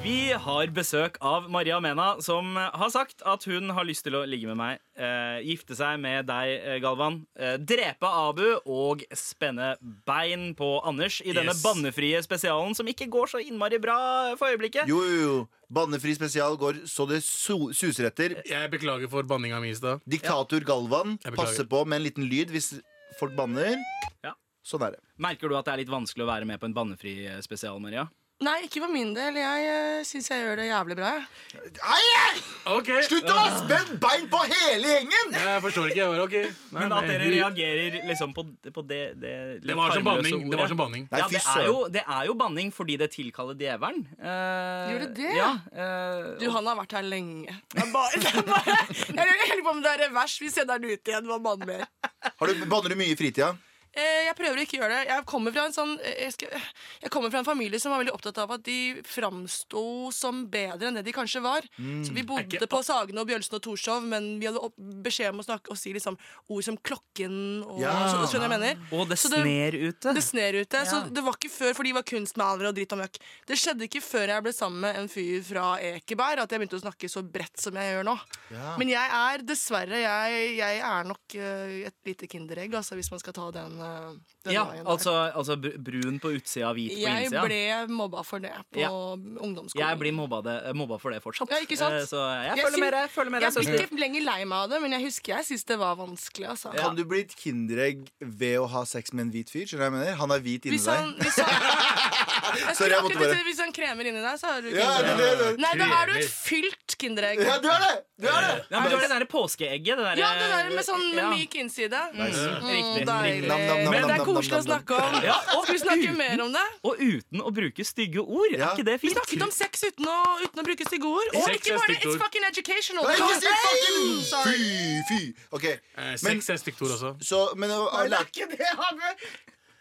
F: Vi har besøk av Maria Mena, som har sagt at hun har lyst til å ligge med meg, eh, gifte seg med deg, eh, Galvan, eh, drepe Abu og spenne bein på Anders i denne
G: Yes.
F: bannefrie spesialen som ikke går så innmari bra for øyeblikket.
E: Jo, jo, jo. Bannefri spesial går så det su- suser etter.
G: Jeg beklager for banninga mi i stad.
E: Diktator Galvan
G: Jeg beklager.
E: passer på med en liten lyd hvis folk banner.
F: Ja.
E: Sånn er det.
F: Merker du at det er litt vanskelig å være med på en bannefri eh, spesial, Maria?
A: Nei, ikke for min del. Jeg syns jeg gjør det jævlig bra. jeg.
E: Hei, hei!
G: Ok,
E: Slutt å ha spent bein på hele gjengen!
G: Jeg forstår ikke. jeg bare, ok Nei,
F: Men at
G: nei,
F: dere
G: vi-
F: reagerer liksom på, på det, det litt
G: Det var som
F: harmløse
G: banning. Det
F: ordet.
G: var som banning.
E: Nei,
F: ja,
E: fy
F: det er,
E: søren.
F: jo, det er jo banning fordi det tilkaller djevelen. Eh,
A: Gjør det det?
F: Ja, eh,
A: Du, han har vært her lenge. Det er bare, det er bare, jeg lurer på om det er revers. Vi sender han ut igjen. Hva banner mer?
E: Har du, banner du mye i fritida?
A: Eh, Jeg prøver å ikke gjøre det. Jeg kommer fra en sånn eh, jeg, skal, jeg kommer fra en familie som var veldig opptatt av at de framsto som bedre enn det de kanskje var. Så vi bodde
G: Er ikke-
A: på Sagene og Bjølsen og Torshov, men vi hadde opp, beskjed om å snakke og si liksom ord som klokken og
E: Ja.
A: så, Skjønner du hva jeg mener?
F: og det
A: Så det-
F: sner ute.
A: Det sner ute. Så det var ikke før, for de var kunstmalere og dritt og møkk. Det skjedde ikke før jeg ble sammen med en fyr fra Ekeberg at jeg begynte å snakke så bredt som jeg gjør nå. Men jeg er dessverre Jeg, jeg er nok eh, et lite kinderegg, altså, hvis man skal ta den denne, denne
F: Ja,
A: dagen. der.
F: altså, altså br- brun på utsida, hvit på
A: jeg
F: innsida.
A: ble mobba for det på
F: Ja.
A: ungdomsskolen.
F: Jeg blir mobba, det, mobba for det fortsatt.
A: Ja, ikke sant?
F: Eh, Så jeg,
A: Jeg
F: følger
A: syns-
F: med deg. Følger med
A: jeg
F: deg
A: blir
F: søster.
A: ikke lenger lei meg av det, men jeg husker jeg syntes det var vanskelig. Altså.
F: Ja.
E: Kan du bli et kinderegg ved å ha sex med en hvit fyr? Skjønner du hva jeg mener? Han er hvit inni
A: Hvis han,
E: deg.
A: hvis han, jeg
E: Sorry,
A: skulle
E: jeg måtte
A: akkurat si
E: bare-
A: det, hvis han kremer inni deg, så har du
E: Ja, det,
A: kinderegg.
E: det, det.
A: Nei, da
G: Eh,
A: er du et fylt kinderegg.
E: ja, du er det! Du er det!
F: Ja, men du har det derre påskeegget. Det der,
A: Ja, det der med sånn
F: Eh, Ja.
A: myk innside.
F: Mm, Riktig.
A: Deilig.
F: riktig.
E: Nam, nam, nam,
A: Men det
E: nam,
A: er
E: nam,
A: koselig
E: nam,
A: å
E: nam.
A: snakke om.
F: Ja, og,
A: Skal vi snakke mer om det?
F: og uten å bruke stygge ord.
E: Ja.
F: Er ikke det
A: Vi
F: fint?
A: snakket om sex uten å, uten å bruke stygge ord. Og
G: Sex
A: ikke
G: er
A: bare
G: stygt
A: It's
G: ord.
A: fucking educational.
E: Nei, ikke si fucking
A: Sorry.
E: Fy, fy. Ok,
G: Eh,
E: men,
G: Sex er stygt ord også.
E: så, men, uh, lær-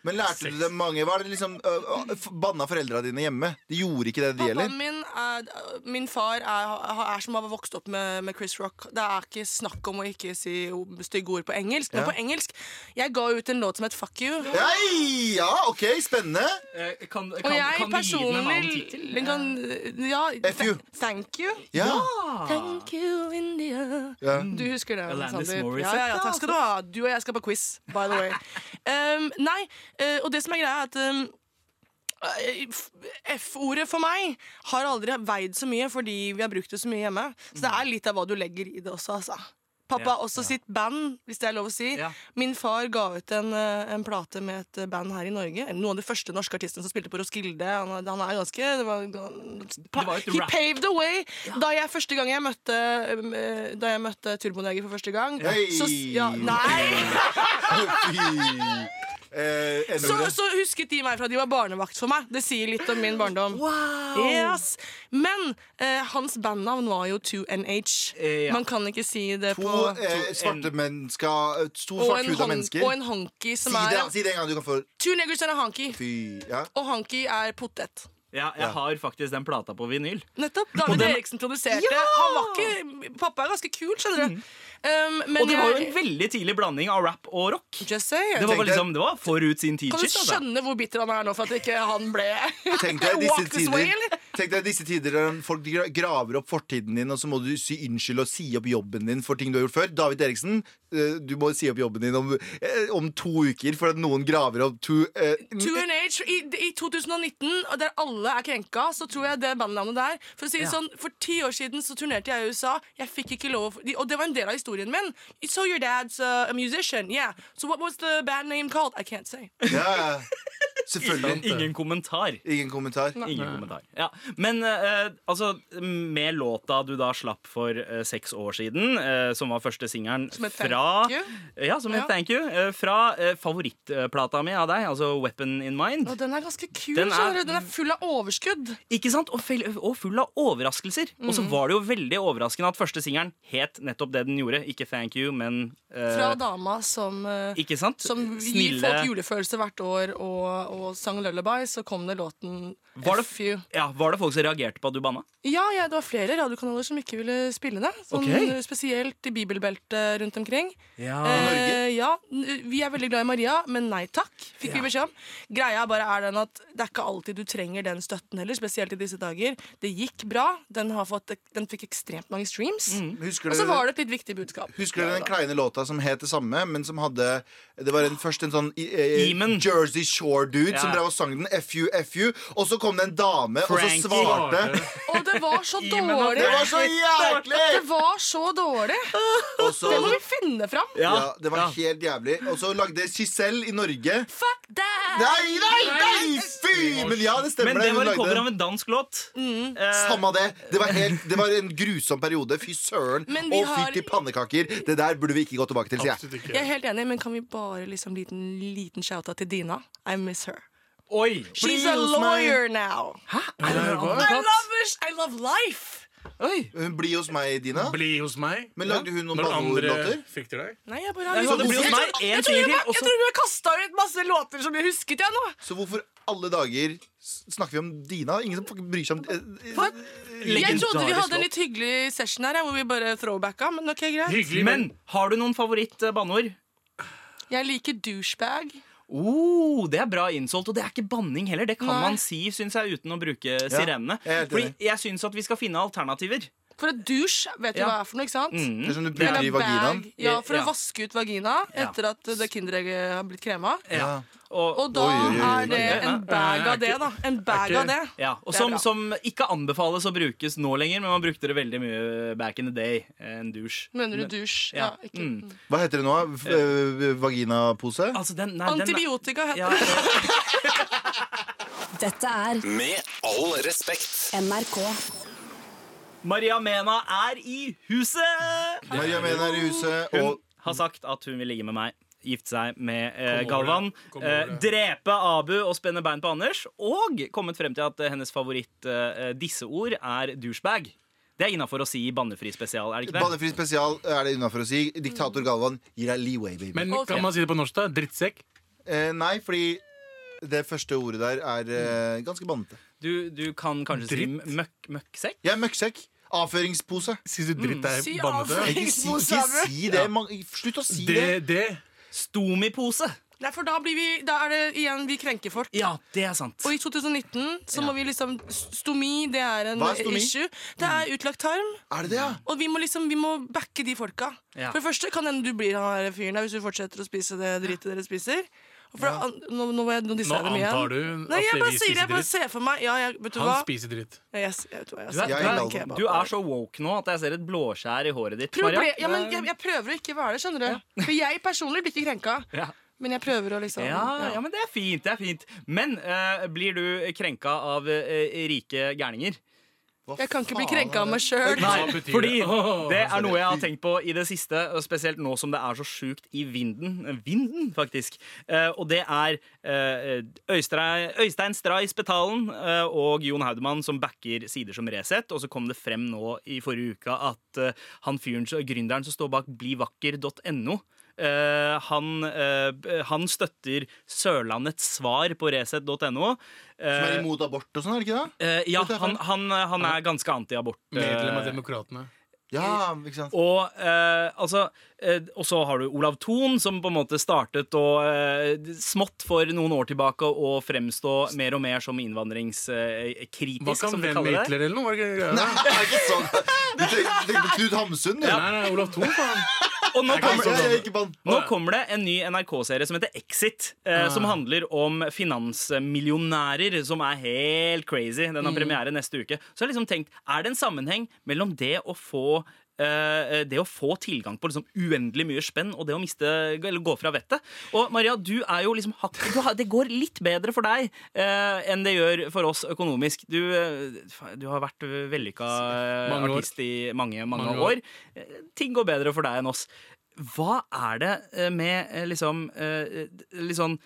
E: men lærte du
G: Sex.
E: det mange? Var det liksom uh, uh, f- Banna foreldra dine hjemme? De gjorde ikke det, de
A: Pappaen
E: heller?
A: min, er, min far er, er som å ha vokst opp med, med Chris Rock. Det er ikke snakk om å ikke si o- stygge ord på engelsk. Men
E: Ja.
A: på engelsk Jeg ga ut en låt som het Fuck You.
E: Nei, ja, OK, spennende.
F: Eh, Kan, kan,
A: Og
F: kan, du gi den en
A: jeg
F: annen
A: personlig
F: tittel?
A: den kan, ja,
E: F you.
A: th- Thank you.
E: Ja.
F: Ah.
A: Thank you, India.
E: Ja.
A: Du husker det?
F: Mm. Alanis
A: Sander.
F: Morissette, altså.
A: ja, ja, ja, takk skal du ha. Du og jeg skal på quiz, by the way. Um, nei, eh, og det som er greia, er at um, eh, f- F-ordet for meg har aldri veid så mye fordi vi har brukt det så mye hjemme. Så det er litt av hva du legger i det også, altså. Pappa
F: Mm. Ja,
A: har også sitt band, hvis det er lov å si.
F: Ja.
A: Min far ga ut en, eh, en plate med et band her i Norge. Noen av de første norske artistene som spilte på Roskilde. Han, er- han er ganske det var,
F: Det var et
A: He
F: rap.
A: paved the way! Da jeg første gang jeg møtte um, eh, Da jeg møtte Turboneger for første gang,
E: Hei!
A: så, s- ja, nei,
E: Fy. Eh,
A: så,
E: N-ordet.
A: så husket de meg fra de var barnevakt for meg. Det sier litt om min barndom. Yes. Men eh, hans bandnavn var jo 2NH.
F: Eh, ja.
A: Man kan ikke si det
E: To
A: på
E: eh, svarte mennesker eh, To
A: og en,
E: svarthuda
A: hon,
E: mennesker.
A: og en honky som
E: Si det,
A: er
E: si det en gang du kan få
A: Two niggers and a honky.
E: Fy. Ja.
A: Og honky er potet.
F: Ja, jeg har faktisk den plata på vinyl.
A: Nettopp. David Eriksen produserte. Han var ikke, pappa er ganske kul, skjønner du. Um, men
F: Mm. Og det var jo en
A: jeg-
F: veldig tidlig blanding av rap og rock.
A: Just saying.
F: Det var, bare
E: tenkte-
F: liksom, det var forut sin tid.
A: Kan du
F: shit, altså.
A: skjønne hvor bitter han er nå for at ikke han ble
E: Tenk deg disse
A: Walk this way,
E: tider
A: eller?
E: Tenk deg disse tider der folk gra- graver opp fortiden din, og så må du si unnskyld og si opp jobben din for ting du har gjort før. David Eriksen, eh, du må si opp jobben din om, eh, om to uker for at noen graver opp to eh,
A: Two and Age i, i 2019, og der alle er krenka, så tror jeg det bandnavnet der For å si det sånn, for ti år siden så turnerte jeg i USA. Jeg fikk ikke lov de- Og det var en del av historien min. So your dad's uh, a musician. Yeah. So what was the band name called? I can't say.
E: Ja, selvfølgelig.
F: Ingen kommentar.
E: Ingen kommentar.
F: Ingen kommentar. Ja. Men eh, altså, med låta du da slapp for eh, seks år siden, eh, som var første singelen
A: Som het
F: fra
A: Thank You.
F: Ja, som het
A: Ja.
F: Thank You. eh, fra eh, favorittplata mi av deg, altså Weapon In Mind.
A: Og den er ganske kul.
F: Den er-
A: skjønner du? den er full av overskudd.
F: Ikke sant? Og, fel- og full av overraskelser. Og
A: Mm.
F: så var det jo veldig overraskende at første singelen het nettopp det den gjorde. Ikke Thank You, men eh,
A: Fra dama som uh,
F: Ikke sant?
A: Som gir folk julefølelse hvert år, og, og sang Lullaby, så kom det låten
F: Var det-
A: F you.
F: ja, Var det folk som reagerte på at du banna?
A: Ja, ja, det var flere radiokanaler som ikke ville spille det. Sånn,
F: Ok.
A: Spesielt i bibelbeltet rundt omkring.
E: Ah,
F: Eh,
A: Eh, ja, n- Vi er veldig glad i Maria, men nei takk, fikk vi beskjed om. Greia bare er den at det er ikke alltid du trenger den støtten heller, spesielt i disse dager. Det gikk bra, den, har fått, den fikk ekstremt mange streams.
E: Husker
A: Og så
E: dere-
A: var det et litt viktig budskap.
E: Husker dere
A: Ja,
E: den
A: da.
E: kleine låta som het det samme, men som hadde Det var en, først en sånn eh,
F: Eamon.
E: Jersey Shore-dude som
F: Ja.
E: drev og sang den FU, FU, og så kom det en dame,
F: Frankie.
E: og så svarte
A: Og det var så
F: men han-
A: dårlig!
E: Det var så
A: Det
E: jævlig!
A: var så dårlig!
E: Og så,
A: Det må vi finne fram!
E: ja, det var helt jævlig. Og så lagde Giselle i Norge
A: Fuck that!
E: Nei, nei, nei! Fy! Men ja, det
F: Men
E: stemmer.
F: det var
E: hun
F: en cover av
E: lagde den.
F: en dansk låt. Eh,
E: Samme det. Det var, helt, det var en grusom periode. Fy søren.
A: Men vi
E: Og
A: har-
E: fytti pannekaker. Det der burde vi ikke gå tilbake til, sier jeg.
G: Absolutt ikke.
A: Jeg er helt enig, men kan vi bare liksom liten, liten shout-out til Dina? I miss her.
F: Oi!
A: She's a lawyer now! I love, her- I love life!
E: Hun blir hos meg, Dina.
G: Bli hos meg.
E: Men lagde hun noen
G: Når andre
E: banneordlåter?
G: fikk til deg?
A: Nei, jeg bare
F: Nei, så det blir hos meg
A: Jeg tror-
F: en
A: jeg
F: ting til,
A: tror jeg,
F: og
A: jeg
F: så-
A: tror vi kasta ut masse låter som jeg husket, jeg nå.
E: Så hvorfor alle dager s- snakker vi om Dina? Ingen som fucking bryr seg om eh, eh,
A: Jeg
F: Legendarisk
A: trodde vi hadde en
F: låt.
A: litt hyggelig session her, jeg, hvor vi bare throwbacka, men ok, greit.
G: Hyggelig,
F: Men har du noen favoritt-banneord?
A: Jeg liker douchebag.
F: Oh, det er bra innsult, og det er ikke banning heller. Det kan
A: Nei.
F: man si synes jeg, uten å bruke sirenene.
E: jeg er helt
F: Fordi
E: enig.
F: jeg syns at vi skal finne alternativer.
A: For et dusj vet du
F: Ja. Mm.
A: hva er for noe, ikke sant?
E: Det er som du
A: Eller
E: bruker i
A: bag.
E: vaginaen.
A: Ja, for
F: Ja.
A: å vaske ut vagina etter at det kinderegget har blitt krema.
F: Ja.
A: Og da
E: Oi, oi, oi,
A: er det
F: ok.
A: en bag av det, da. En bag av det.
F: Ja, og
A: Det er
F: som,
A: bra.
F: som ikke anbefales å brukes nå lenger, men man brukte det veldig mye back in the day. eh, En dusj.
A: Mener du dusj? Ja,
F: Ja.
A: ikke.
F: Mm.
E: Hva heter det nå? F- eh, Vaginapose?
F: Altså, den, nei, den-
A: Antibiotika heter
F: Ja,
A: det.
C: Dette er
D: Med all respekt.
C: NRK.
F: Maria Mena er i huset!
E: Maria Mena er i huset,
F: Hun
E: og
F: har sagt at hun vil ligge med meg. Gifte seg med eh,
G: Kom over
F: Galvan.
G: det. Kom over
F: Eh,
G: det.
F: drepe Abu og spenne bein på Anders. Og kommet frem til at eh, hennes favoritt-disseord er douchebag. Det er innafor å si i bannefri spesial, er det ikke det?
E: Bannefri spesial er det innafor å si. Diktator Galvan gir deg leeway, baby.
G: Men kan man si det på norsk, da? Drittsekk?
E: eh, nei, fordi det første ordet der er eh, ganske bannete.
F: Du, du kan kanskje
G: Dritt.
F: si møkk, møkksekk?
E: Jeg er møkksekk. Avføringspose.
G: Sier du dritt er
A: Si
G: bannete?
A: avføring.
E: Ikke si, ikke si det. Man, slutt å si
G: Det,
E: det.
G: det.
F: Stomipose.
A: Nei, for da, blir vi, da er det igjen vi krenker folk.
F: Ja, det er sant.
A: Og i 2019 så
F: Ja.
A: må vi liksom Stomi, det er en
E: Hva er stomi? Mm.
A: issue. Det er utlagt tarm.
E: Er det det, ja?
A: Og vi må liksom, vi må backe de folka.
F: Ja.
A: For det første kan hende du blir han der fyren der hvis du fortsetter å spise det dritet dere spiser. Og for an, nå, nå, må jeg- nå
G: Nå
A: disser jeg dem igjen.
G: antar du
A: Nei,
G: at
A: jeg
G: vi
A: bare sier
G: spiser
A: jeg bare
G: dritt.
A: ser for meg ja, jeg, Vet du
G: Han
A: hva?
G: spiser dritt.
A: Yes, jeg vet hva jeg
F: Du er-
A: sier.
E: du er-
A: En kebab.
F: Du er så woke nå at jeg ser et blåskjær i håret ditt.
A: Proble
F: Maria.
A: ja, men jeg, jeg prøver å ikke være det, skjønner du. For jeg personlig blir ikke krenka.
F: Ja.
A: Men jeg prøver å liksom
F: Ja, ja, men det er fint. det er fint Men eh, blir du krenka av eh, rike gærninger?
E: Hva
A: Jeg kan ikke bli
E: faen
A: krenka
E: er
A: av
E: det?
A: meg sjøl.
G: Hva betyr
F: fordi
G: det? Åh,
F: det er noe jeg har tenkt på i det siste, og spesielt nå som det er så sjukt i vinden. Vinden, faktisk. Eh, og det er eh, Øystein, Øystein Stray Spetalen eh, og Jon Haudemann som backer sider som Resett. Og så kom det frem nå i forrige uke at eh, han fyren, som- gründeren som står bak blivakker.no eh, han, eh, han støtter Sørlandets svar på resett.no.
E: Som er
F: Eh,
E: imot abort og sånn, er det ikke det?
F: eh, ja, han, han, eh, han er ganske anti-abort.
G: Medlem av
F: eh,
G: Demokratene.
E: Ja, ikke sant?
F: og eh, altså, eh, og så har du Olav Thon, som på en måte startet å eh, smått for noen år tilbake å fremstå mer og mer som innvandringskritisk.
G: Hva kan
F: som de
G: venn med
F: kaller det.
G: Hitler eller noe? Var det ikke greia?
E: Nei, det er ikke sånn. Du tenker tenker på Knut Hamsun, du. sånn.
G: Nei, nei, Olav Thon, faen.
F: Og nå
E: Jeg
F: kommer,
E: kommer-
G: sånn
E: jeg- jeg er ikke bann.
F: nå kommer det en ny NRK-serie som heter Exit,
G: Ah.
F: eh, som handler om finansmillionærer, som er helt crazy. Den
G: Mm.
F: har premiere neste uke. Så jeg har liksom tenkt, er det en sammenheng mellom det å få eh, det å få tilgang på liksom uendelig mye spenn og det å miste, eller gå fra vettet. Og Maria, du er jo liksom hakk, du har, Det går litt bedre for deg eh, enn det gjør for oss økonomisk. Du, eh, fa- du har vært vellykka eh,
G: Mange år.
F: artist i mange, mange,
G: Mange
F: år. Eh, Ting går bedre for deg enn oss. Hva er det eh, med eh, liksom, eh, litt sånn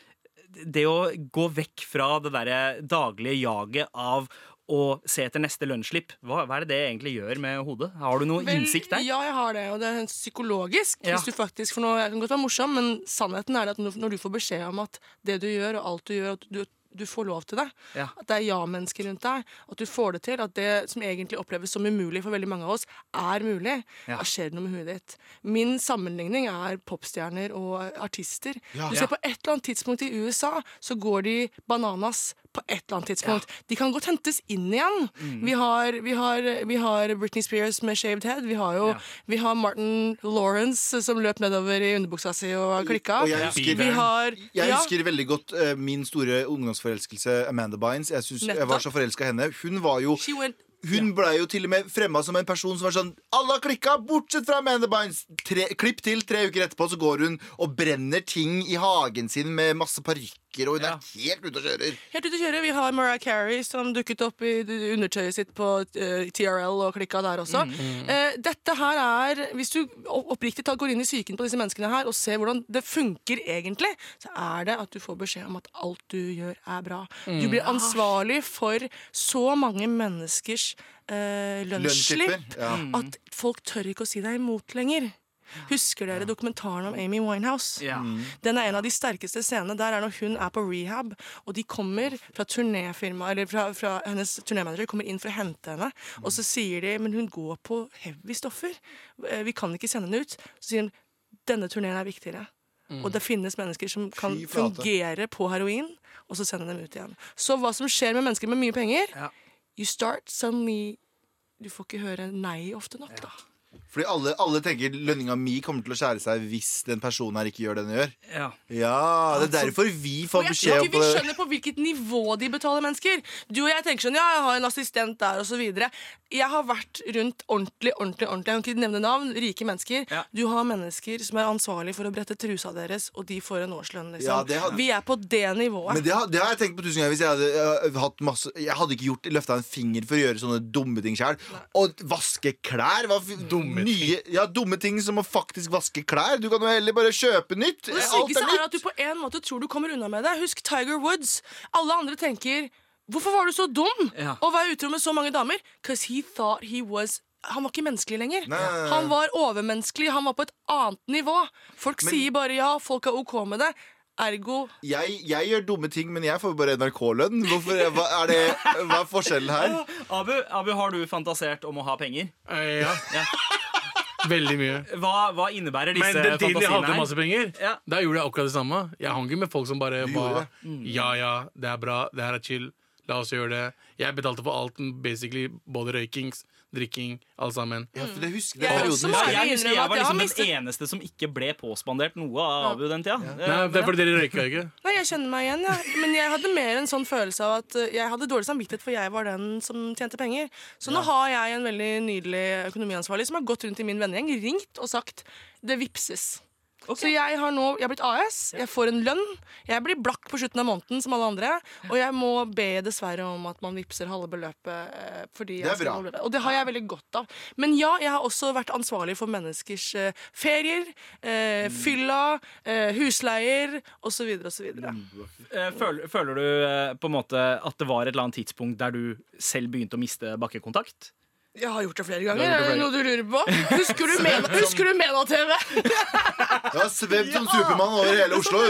F: Det å gå vekk fra det derre daglige jaget av å se etter neste lønnsslipp, hva, hva er det det egentlig gjør med hodet? Har du noe
A: Vel,
F: innsikt der?
A: Ja, jeg har det, og det er psykologisk.
F: Ja.
A: Hvis du faktisk, for nå, Jeg kan godt være morsom, men sannheten er at når når du får beskjed om at det du gjør, og alt du gjør, at du, du får lov til det,
F: Ja.
A: at det er ja-mennesker rundt deg, at du får det til, at det som egentlig oppleves som umulig for veldig mange av oss, er mulig,
F: Ja.
A: da skjer det noe med huet ditt. Min sammenligning er popstjerner og artister.
E: Ja.
A: Du ser på et eller annet tidspunkt i USA, så går de bananas på et eller annet tidspunkt. De kan godt hentes inn igjen.
E: Mm.
A: Vi, har, vi, har, vi har Britney Spears med shaved head. Vi har jo
F: Ja.
A: vi har Martin Lawrence som løp nedover i underbuksa si og klikka.
E: Og jeg husker,
A: vi har
E: Jeg
A: ja,
E: husker veldig godt eh, min store ungdomsforelskelse, Amanda Bynes. Jeg, synes, jeg var
A: Nettopp.
E: så forelska i henne. Hun var jo
A: She went
E: hun ble jo til og med fremma som en person som var sånn Alle har klikka, bortsett fra Amanda Bynes. Tre, klipp til, tre uker etterpå så går hun og brenner ting i hagen sin med masse parykker, og hun
F: Ja.
E: er helt ute og kjører.
A: Helt ute å kjøre. Vi har Mariah Carey som dukket opp i d- undertøyet sitt på eh, TRL og klikka der også. Eh, dette her er Hvis du opp- oppriktig talt går inn i psyken på disse menneskene her og ser hvordan det funker egentlig, så er det at du får beskjed om at alt du gjør, er bra. Du blir ansvarlig for så mange menneskers eh, lønnsslipp
E: Lønnsslipp, ja.
A: at folk tør ikke å si deg imot lenger. Husker dere dokumentaren om Amy Winehouse?
F: Ja.
A: Den er en av de sterkeste scenene. Der er når hun er på rehab, og de kommer fra turnéfirma, eller fra, fra hennes turnémanager kommer inn for å hente henne.
E: Mm.
A: Og så sier de men hun går på heavy stoffer. Eh, Vi kan ikke sende henne ut. Så sier hun denne turneen er viktigere. Og det finnes mennesker som kan
E: Mm. Fy flate.
A: fungere på heroin, og så sende dem ut igjen. Så hva som skjer med mennesker med mye penger
F: Ja.
A: You start suddenly du får ikke høre nei ofte nok. da.
E: Fordi alle, alle tenker lønninga mi kommer til å skjære seg hvis den personen her ikke gjør det den gjør.
F: Ja.
E: Ja, det er derfor vi
A: Og
E: får
A: jeg tror
E: beskjed om
A: ikke vi
E: det.
A: skjønner på hvilket nivå de betaler mennesker. Du og jeg tenker sånn, ja, jeg har en assistent der, og så videre. Jeg har vært rundt ordentlig, ordentlig, ordentlig, jeg kan ikke nevne navn, rike mennesker.
F: Ja.
A: Du har mennesker som er ansvarlig for å brette trusa deres, og de får en årslønn, liksom.
E: Ja, det har-
A: Vi er på det nivået.
E: Men det har, det har jeg tenkt på tusen ganger. Hvis jeg hadde øh, hatt masse Jeg hadde ikke gjort løfta en finger for å gjøre sånne dumme ting sjøl. Og vaske klær var f-
G: Dumme ting.
E: nye, Ja, dumme ting som å faktisk vaske klær. Du kan jo heller bare kjøpe nytt.
A: Og det
E: Alt er
A: sykeste er
E: nytt.
A: at du på en måte tror du kommer unna med det. Husk Tiger Woods. Alle andre tenker Hvorfor var du så dum
F: Ja.
A: å være utro med så mange damer? Cause he thought he was han var ikke menneskelig lenger.
E: Nei.
A: Han var overmenneskelig. Han var på et annet nivå. Folk sier bare ja, folk er OK med det. Ergo
E: Jeg, jeg gjør dumme ting, men jeg får jo bare NRK-lønn. Hvorfor, hva, er det, hva er forskjellen her?
F: Abu, Abu, har du fantasert om å ha penger?
G: Eh, ja.
F: Ja.
G: Veldig mye.
F: Hva, hva innebærer disse
G: Men den tiden jeg hadde
F: fantasiene
G: masse
F: her?
G: penger,
F: Ja.
G: da gjorde jeg akkurat det samme. Jeg hang ikke med folk som bare
E: gjorde
G: var
E: det. Mm.
G: Ja, ja, det er bra, det her er chill, la oss gjøre det. Jeg betalte for alt, basically både røykings, drikking, alt sammen.
E: Ja, for det husker
A: Jeg
E: den
A: er
E: perioden
A: også
E: husker
F: Ja,
E: jeg.
F: jeg husker
A: innrømme
F: jeg
A: at
F: var
A: jeg har
F: liksom den
A: mistet-
F: eneste som ikke ble påspandert noe av Abu den tida.
G: Nei, det er fordi dere røyka ikke.
A: Nei, jeg kjenner meg igjen, ja. Men jeg hadde mer en sånn følelse av at eh, jeg hadde dårlig samvittighet, for jeg var den som tjente penger. Så nå har jeg en veldig nydelig økonomiansvarlig som har gått rundt i min vennegjeng, ringt og sagt det vipses. Så jeg har nå, jeg har blitt AS, jeg får en lønn, jeg blir blakk på slutten av måneden som alle andre, og jeg må be dessverre om at man vipser halve beløpet. eh, Fordi
E: Det er
A: jeg skal
E: bra.
A: holde det. Og det har jeg veldig godt av. Men ja, jeg har også vært ansvarlig for menneskers eh, ferier, eh, fylla, eh, husleier osv. videre
F: Eh, Føler, føler du eh, på en måte at det var et eller annet tidspunkt der du selv begynte å miste bakkekontakt?
A: Jeg har gjort det flere
F: Du
A: ganger.
F: har
A: Er
F: gjort det
A: det noe du lurer på? Husker du, Mena, husker du Mena TV?
E: Jeg har svevd som Supermann over hele Oslo.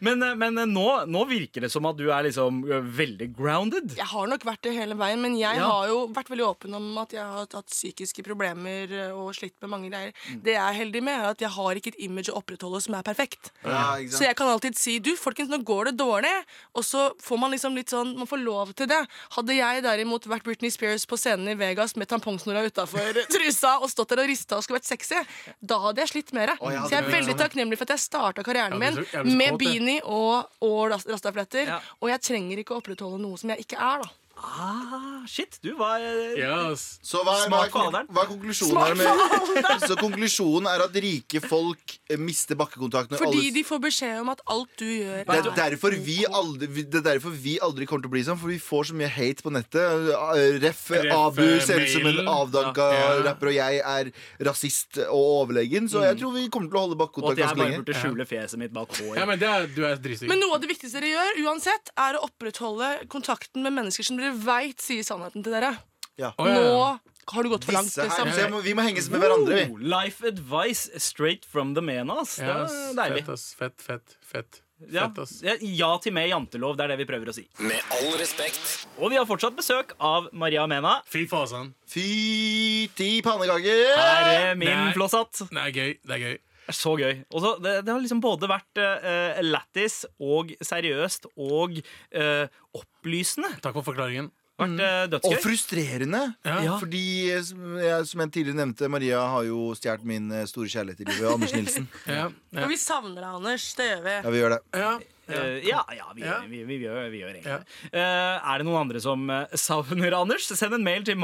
F: Men, eh, men eh, nå, nå virker det som at du er liksom eh, veldig grounded.
A: Jeg har nok vært det hele veien, men jeg
F: Ja.
A: har jo vært veldig åpen om at jeg har hatt psykiske problemer eh, og slitt med mange greier. Det jeg er heldig med, er at jeg har ikke et image å opprettholde som er perfekt.
E: Ja, ikke
A: Så
E: sant?
A: jeg kan alltid si du, folkens, nå går det dårlig. Og så får man liksom litt sånn, man får lov til det. Hadde jeg derimot vært Britney Spears på scenen i Vegas med tampongsnora utafor trusa og stått der og rista og skulle vært sexy, da hadde jeg slitt mer.
E: jeg hadde
A: Så jeg er
E: blitt
A: veldig takknemlig for at jeg starta karrieren
G: Jeg
A: min
G: blir så- jeg blir så
A: med
G: kåt, jeg.
A: beanie og, og ras- rastafletter.
F: Ja.
A: Og jeg trenger ikke å opprettholde noe som jeg ikke er, da.
F: Ah, shit, du var eh,
G: Yes.
E: Så hva er, hva
F: Smak
E: er, kon-
F: faderen.
E: hva er konklusjonen her? Med? Så konklusjonen er at rike folk eh, mister bakkekontakt når
A: Fordi
E: alle
A: de får beskjed om at alt du gjør,
E: Det er, derfor vi aldri, vi- det er derfor vi aldri kommer til å bli sånn, for vi får så mye hate på nettet. Eh, Ref,
G: Ref,
E: Abu ser ut som en
G: mailen.
E: avdanka
G: Ja. Mm. Ja.
E: rapper, og jeg er rasist og overlegen, så jeg tror vi kommer til å holde
F: Og
E: bakkekontakt
F: at jeg
E: ganske
F: bare
E: lenge.
F: burde skjule fjeset mitt bak
G: Ja,
F: hår.
G: men det er, du er dritsig.
A: Men noe av det viktigste dere gjør, uansett, er å opprettholde kontakten med mennesker som dere veit sier sannheten til dere.
G: Å, ja.
A: Nå har du gått for langt.
E: Disse her,
A: Liksom.
E: så jeg må, vi må henges med hverandre,
F: Oh,
E: vi.
F: Life advice straight from the man, ass. Det
G: Yes,
F: er deilig.
G: Fett, ass. Fett, fett, fett.
F: Ja,
G: Fett, ass.
F: ja, ja til meg jantelov, det er det vi prøver å si.
D: Med all respekt.
F: Og vi har fortsatt besøk av Maria Mena.
G: Fy fasan.
E: Fytti pannekaker!
F: Her er eh, min
G: Nei.
F: flosshatt.
G: Det er gøy. Det er gøy.
F: Det er så gøy. Og så, det, det har liksom både vært eh, lættis og seriøst og eh, opplysende.
G: Takk for forklaringen.
F: Vært eh,
E: Og
F: dødsgøy.
E: frustrerende.
F: Ja.
E: Fordi, eh, som jeg, som jeg tidligere nevnte, Maria har jo stjålet min eh, store kjærlighet i livet, Anders Nilsen.
G: Ja, ja.
A: Og vi savner deg, Anders. Det gjør vi.
E: Ja, vi gjør det.
G: ja.
F: Eh, ja, ja, vi,
G: Ja.
F: Gjør, vi, vi, gjør, vi gjør egentlig det. Eh, er det noen andre som eh, savner Anders? Send en mail til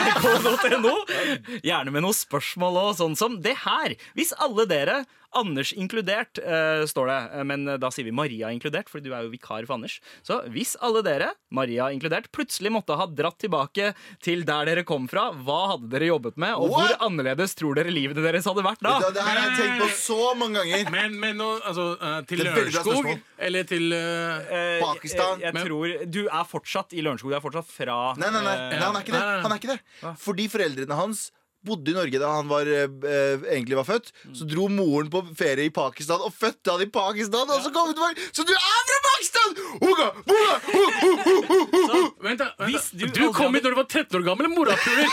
F: mar.nrk.no. Gjerne med noen spørsmål og sånn som det her. Hvis alle dere, Anders inkludert, eh, står det, eh, men da sier vi Maria inkludert, for du er jo vikar for Anders. Så hvis alle dere, Maria inkludert, plutselig måtte ha dratt tilbake til der dere kom fra, hva hadde dere jobbet med, og
E: What?
F: hvor annerledes tror dere livet deres hadde vært da?
E: Det, det her har jeg tenkt på så mange ganger.
G: Men, men nå, altså, eh, til
E: Det er veldig bra
G: Lørenskog
E: spørsmål.
G: eller til eh,
F: Eh,
E: Pakistan.
F: Jeg, jeg
G: Men-
F: tror, du er fortsatt i Lørenskog. Du er fortsatt fra
E: Nei, nei, nei,
F: eh,
E: nei, han er ikke det.
G: Nei, nei, nei.
E: Han er ikke det. Fordi foreldrene hans bodde i Norge da han var, eh, eh, egentlig var født.
G: Mm.
E: Så dro moren på ferie i Pakistan og fødte han i Pakistan. Og så kom hun tilbake Så du er fra Pakistan! Uga, uga, u, u, u, u, u.
G: Vent, da. Vent,
F: Hvis
G: da.
F: du
G: Du
F: aldri
G: kom
F: hadde-
G: hit når du var 13 år gammel, morapuler!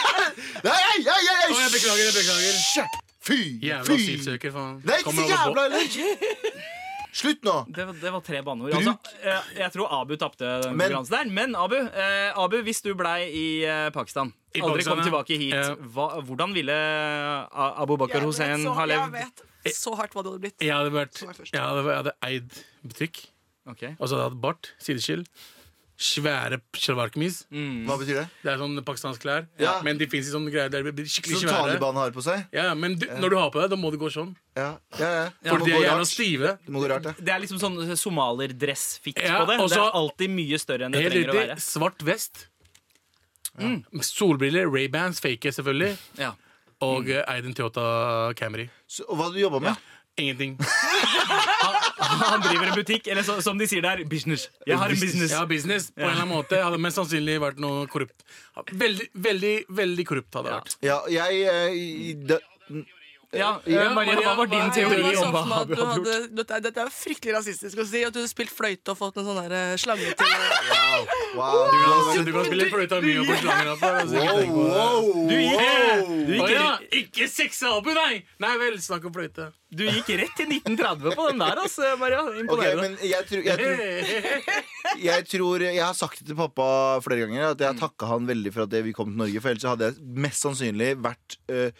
E: Nei, ei, ei, ei, ei.
G: Å, jeg beklager, jeg beklager.
E: Hysj! Fy!
G: Jævla
E: Fy!
G: asylsøker, faen.
E: Det er ikke
G: Kommer
E: så
G: over
E: jævla heller. Slutt nå!
F: Det, var- det var tre banneord.
E: Bruk-
F: Altså, jeg, jeg tror Abu tapte den
E: Men-
F: konkurransen der. Men Abu, eh, Abu hvis du blei i eh, Pakistan,
G: I
F: aldri
G: Pakistan,
F: kom
G: ja.
F: tilbake hit,
G: Ja.
F: hva, hvordan ville eh, Abu Bakar Hussein ha
A: jeg
F: levd?
A: vet så hardt hva det hadde blitt.
G: Jeg hadde, vært,
A: Som er
G: jeg,
A: først.
G: hadde, jeg hadde eid butikk,
F: Ok.
G: og så hadde jeg hatt bart, sideskill, svære shalwar-kamis.
E: Hva betyr det?
G: Det er sånn pakistansk klær,
E: Ja.
G: men det fins sånne greier der det blir skikkelig
E: Som
G: svære.
E: Taliban har på seg?
G: Ja, men du, når du har på deg, da må du gå sånn.
E: Ja, ja, ja.
G: For
E: Det må
G: de
E: gå
G: er jævla
E: rart.
G: stive.
E: Det må gå rart, ja.
F: Det er liksom sånn somalerdress-fiks
G: Ja,
F: på det.
G: og
F: det
G: så-
F: er alltid mye større enn det
G: Helt
F: trenger å
G: riktig.
F: være.
G: Svart vest. Mm. Solbriller, Ray-Bans, fake selvfølgelig.
F: Ja.
G: Og eh, eid en Toyota Camry.
E: Så, og hva du jobba med?
G: Ingenting.
F: Han driver en butikk, eller så, som de sier der, business. Jeg har en business.
G: Ja, business på en eller annen måte. Hadde mest sannsynlig vært noe korrupt. Veldig, veldig veldig korrupt hadde det vært.
E: Ja, jeg eh, i- da,
F: Ja,
G: Ja,
F: eh, Maria, hva var din
A: Nei,
F: teori
A: jeg så
F: om hva
A: for meg at
F: Abu
A: du
F: hadde gjort?
A: hadde- Dette er- dette er jo fryktelig rasistisk å si. At du hadde spilt fløyte og fått en sånn der, eh, slange til
E: Wow.
G: Du kan, du kan spille fløyta mye og få slanger opp. Altså, ikke tenk
E: Wow,
G: på det.
E: wow,
F: Du gikk, du,
G: Å
F: gikk,
G: ja, ikke sexa opp i deg! Nei vel, snakk om fløyte.
F: du gikk rett til 1930 på den der, altså, Maria.
E: Ok,
F: Imponerende.
E: men jeg tror, jeg, tror, jeg tror Jeg har sagt det til pappa flere ganger at
G: Mm.
E: jeg takka han veldig for at vi kom til Norge, for ellers så hadde jeg mest sannsynlig vært eh,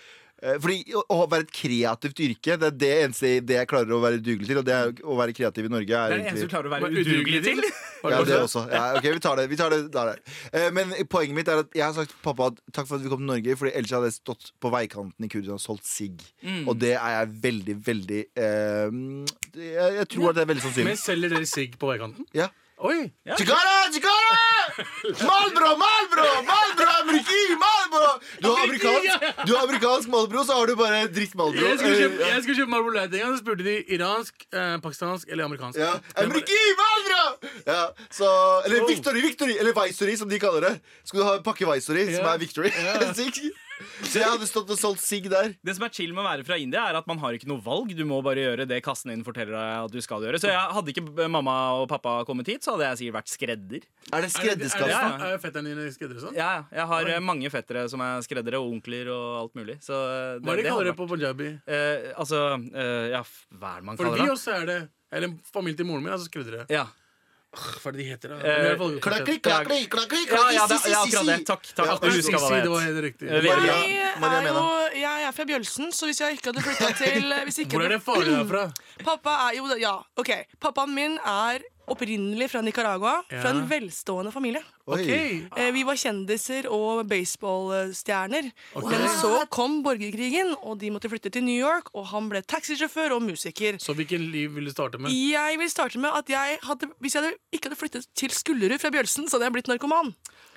E: eh, fordi å, å være et kreativt yrke Det er det eneste det jeg klarer å være dugelig til. Og det er, å være kreativ i Norge
F: Det
E: er
F: er det eneste du
E: egentlig
F: klarer å være udugelig til.
E: ja, det også. Ja, ok, vi tar det. Vi tar det der, Eh, Men poenget mitt er at jeg har sagt til pappa at takk for at vi kom til Norge, Fordi ellers hadde jeg stått på veikanten i Kurdistan og solgt sigg.
G: Mm.
E: Og det er jeg veldig, veldig eh, jeg, jeg tror at det er veldig sannsynlig.
G: Men selger dere sigg på veikanten?
E: Ja.
G: Oi!
E: Chicana, chicana! Malbro, Malbro, Malbro, Amriki, Malbro! Du har amerikansk, du har amerikansk Malbro, så har du bare dritt Malbro.
G: Jeg skulle kjøpe, jeg skulle kjøpe Marble Light en gang, så spurte de iransk, eh, pakistansk eller amerikansk.
E: Ja. Amriki, Malbro! Ja, så, eller Victory, Victory, eller Visory, som de kaller det. Skal du ha en pakke Visory, som
G: Ja.
E: er Victory? Sigg. så jeg hadde stått og solgt sigg der.
F: Det som er chill med å være fra India, er at man har ikke noe valg. Du må bare gjøre det kassen din forteller deg at du skal gjøre. Så jeg hadde ikke eh, mamma og pappa kommet hit, så hadde jeg sikkert vært
E: Er
F: skredder.
E: det
G: Er, det, er,
E: skredderskap?
G: det,
F: Ja, ja.
G: sant? er fetteren din skredder og sånn?
F: Ja, ja. jeg har eh, mange fettere som er skreddere, og onkler og alt mulig. Så eh,
G: Hva er det de kaller
F: hadde
G: det
F: vært-
G: på punjabi?
F: Eh, altså eh, Ja, f- hva er det man
G: For
F: kaller
G: vi
F: det?
G: også er det. Eller familien til moren min er altså skreddere.
F: Ja.
G: Hva er det de heter, da?
F: Eh,
G: Det er valgfrihet.
E: Klakli, klakli, klakli,
F: Ja, ja, det,
E: si, si,
F: ja,
E: si,
F: akkurat det.
E: si.
F: Takk. takk
E: Ja,
F: at du huska hva
G: Si, det var
F: det het.
G: helt riktig.
F: Eh,
A: Jeg
F: Maria.
E: Maria
A: er jo jeg er fra Bjølsen, så hvis jeg ikke hadde flytta til hvis ikke
G: Hvor er det faren din er fra?
A: Pappa er jo Ja, OK. Pappaen min er opprinnelig fra Nicaragua. Fra en
G: Ja.
A: velstående familie.
E: Oi.
G: Ok.
A: Eh, Vi var kjendiser og baseballstjerner. Men så kom borgerkrigen, og de måtte flytte til New York. Og han ble taxisjåfør og musiker.
G: Så hvilken liv vil du starte med?
A: Jeg vil starte med at jeg hadde, Hvis jeg hadde, ikke hadde flyttet til Skullerud fra Bjølsen, så hadde jeg blitt narkoman.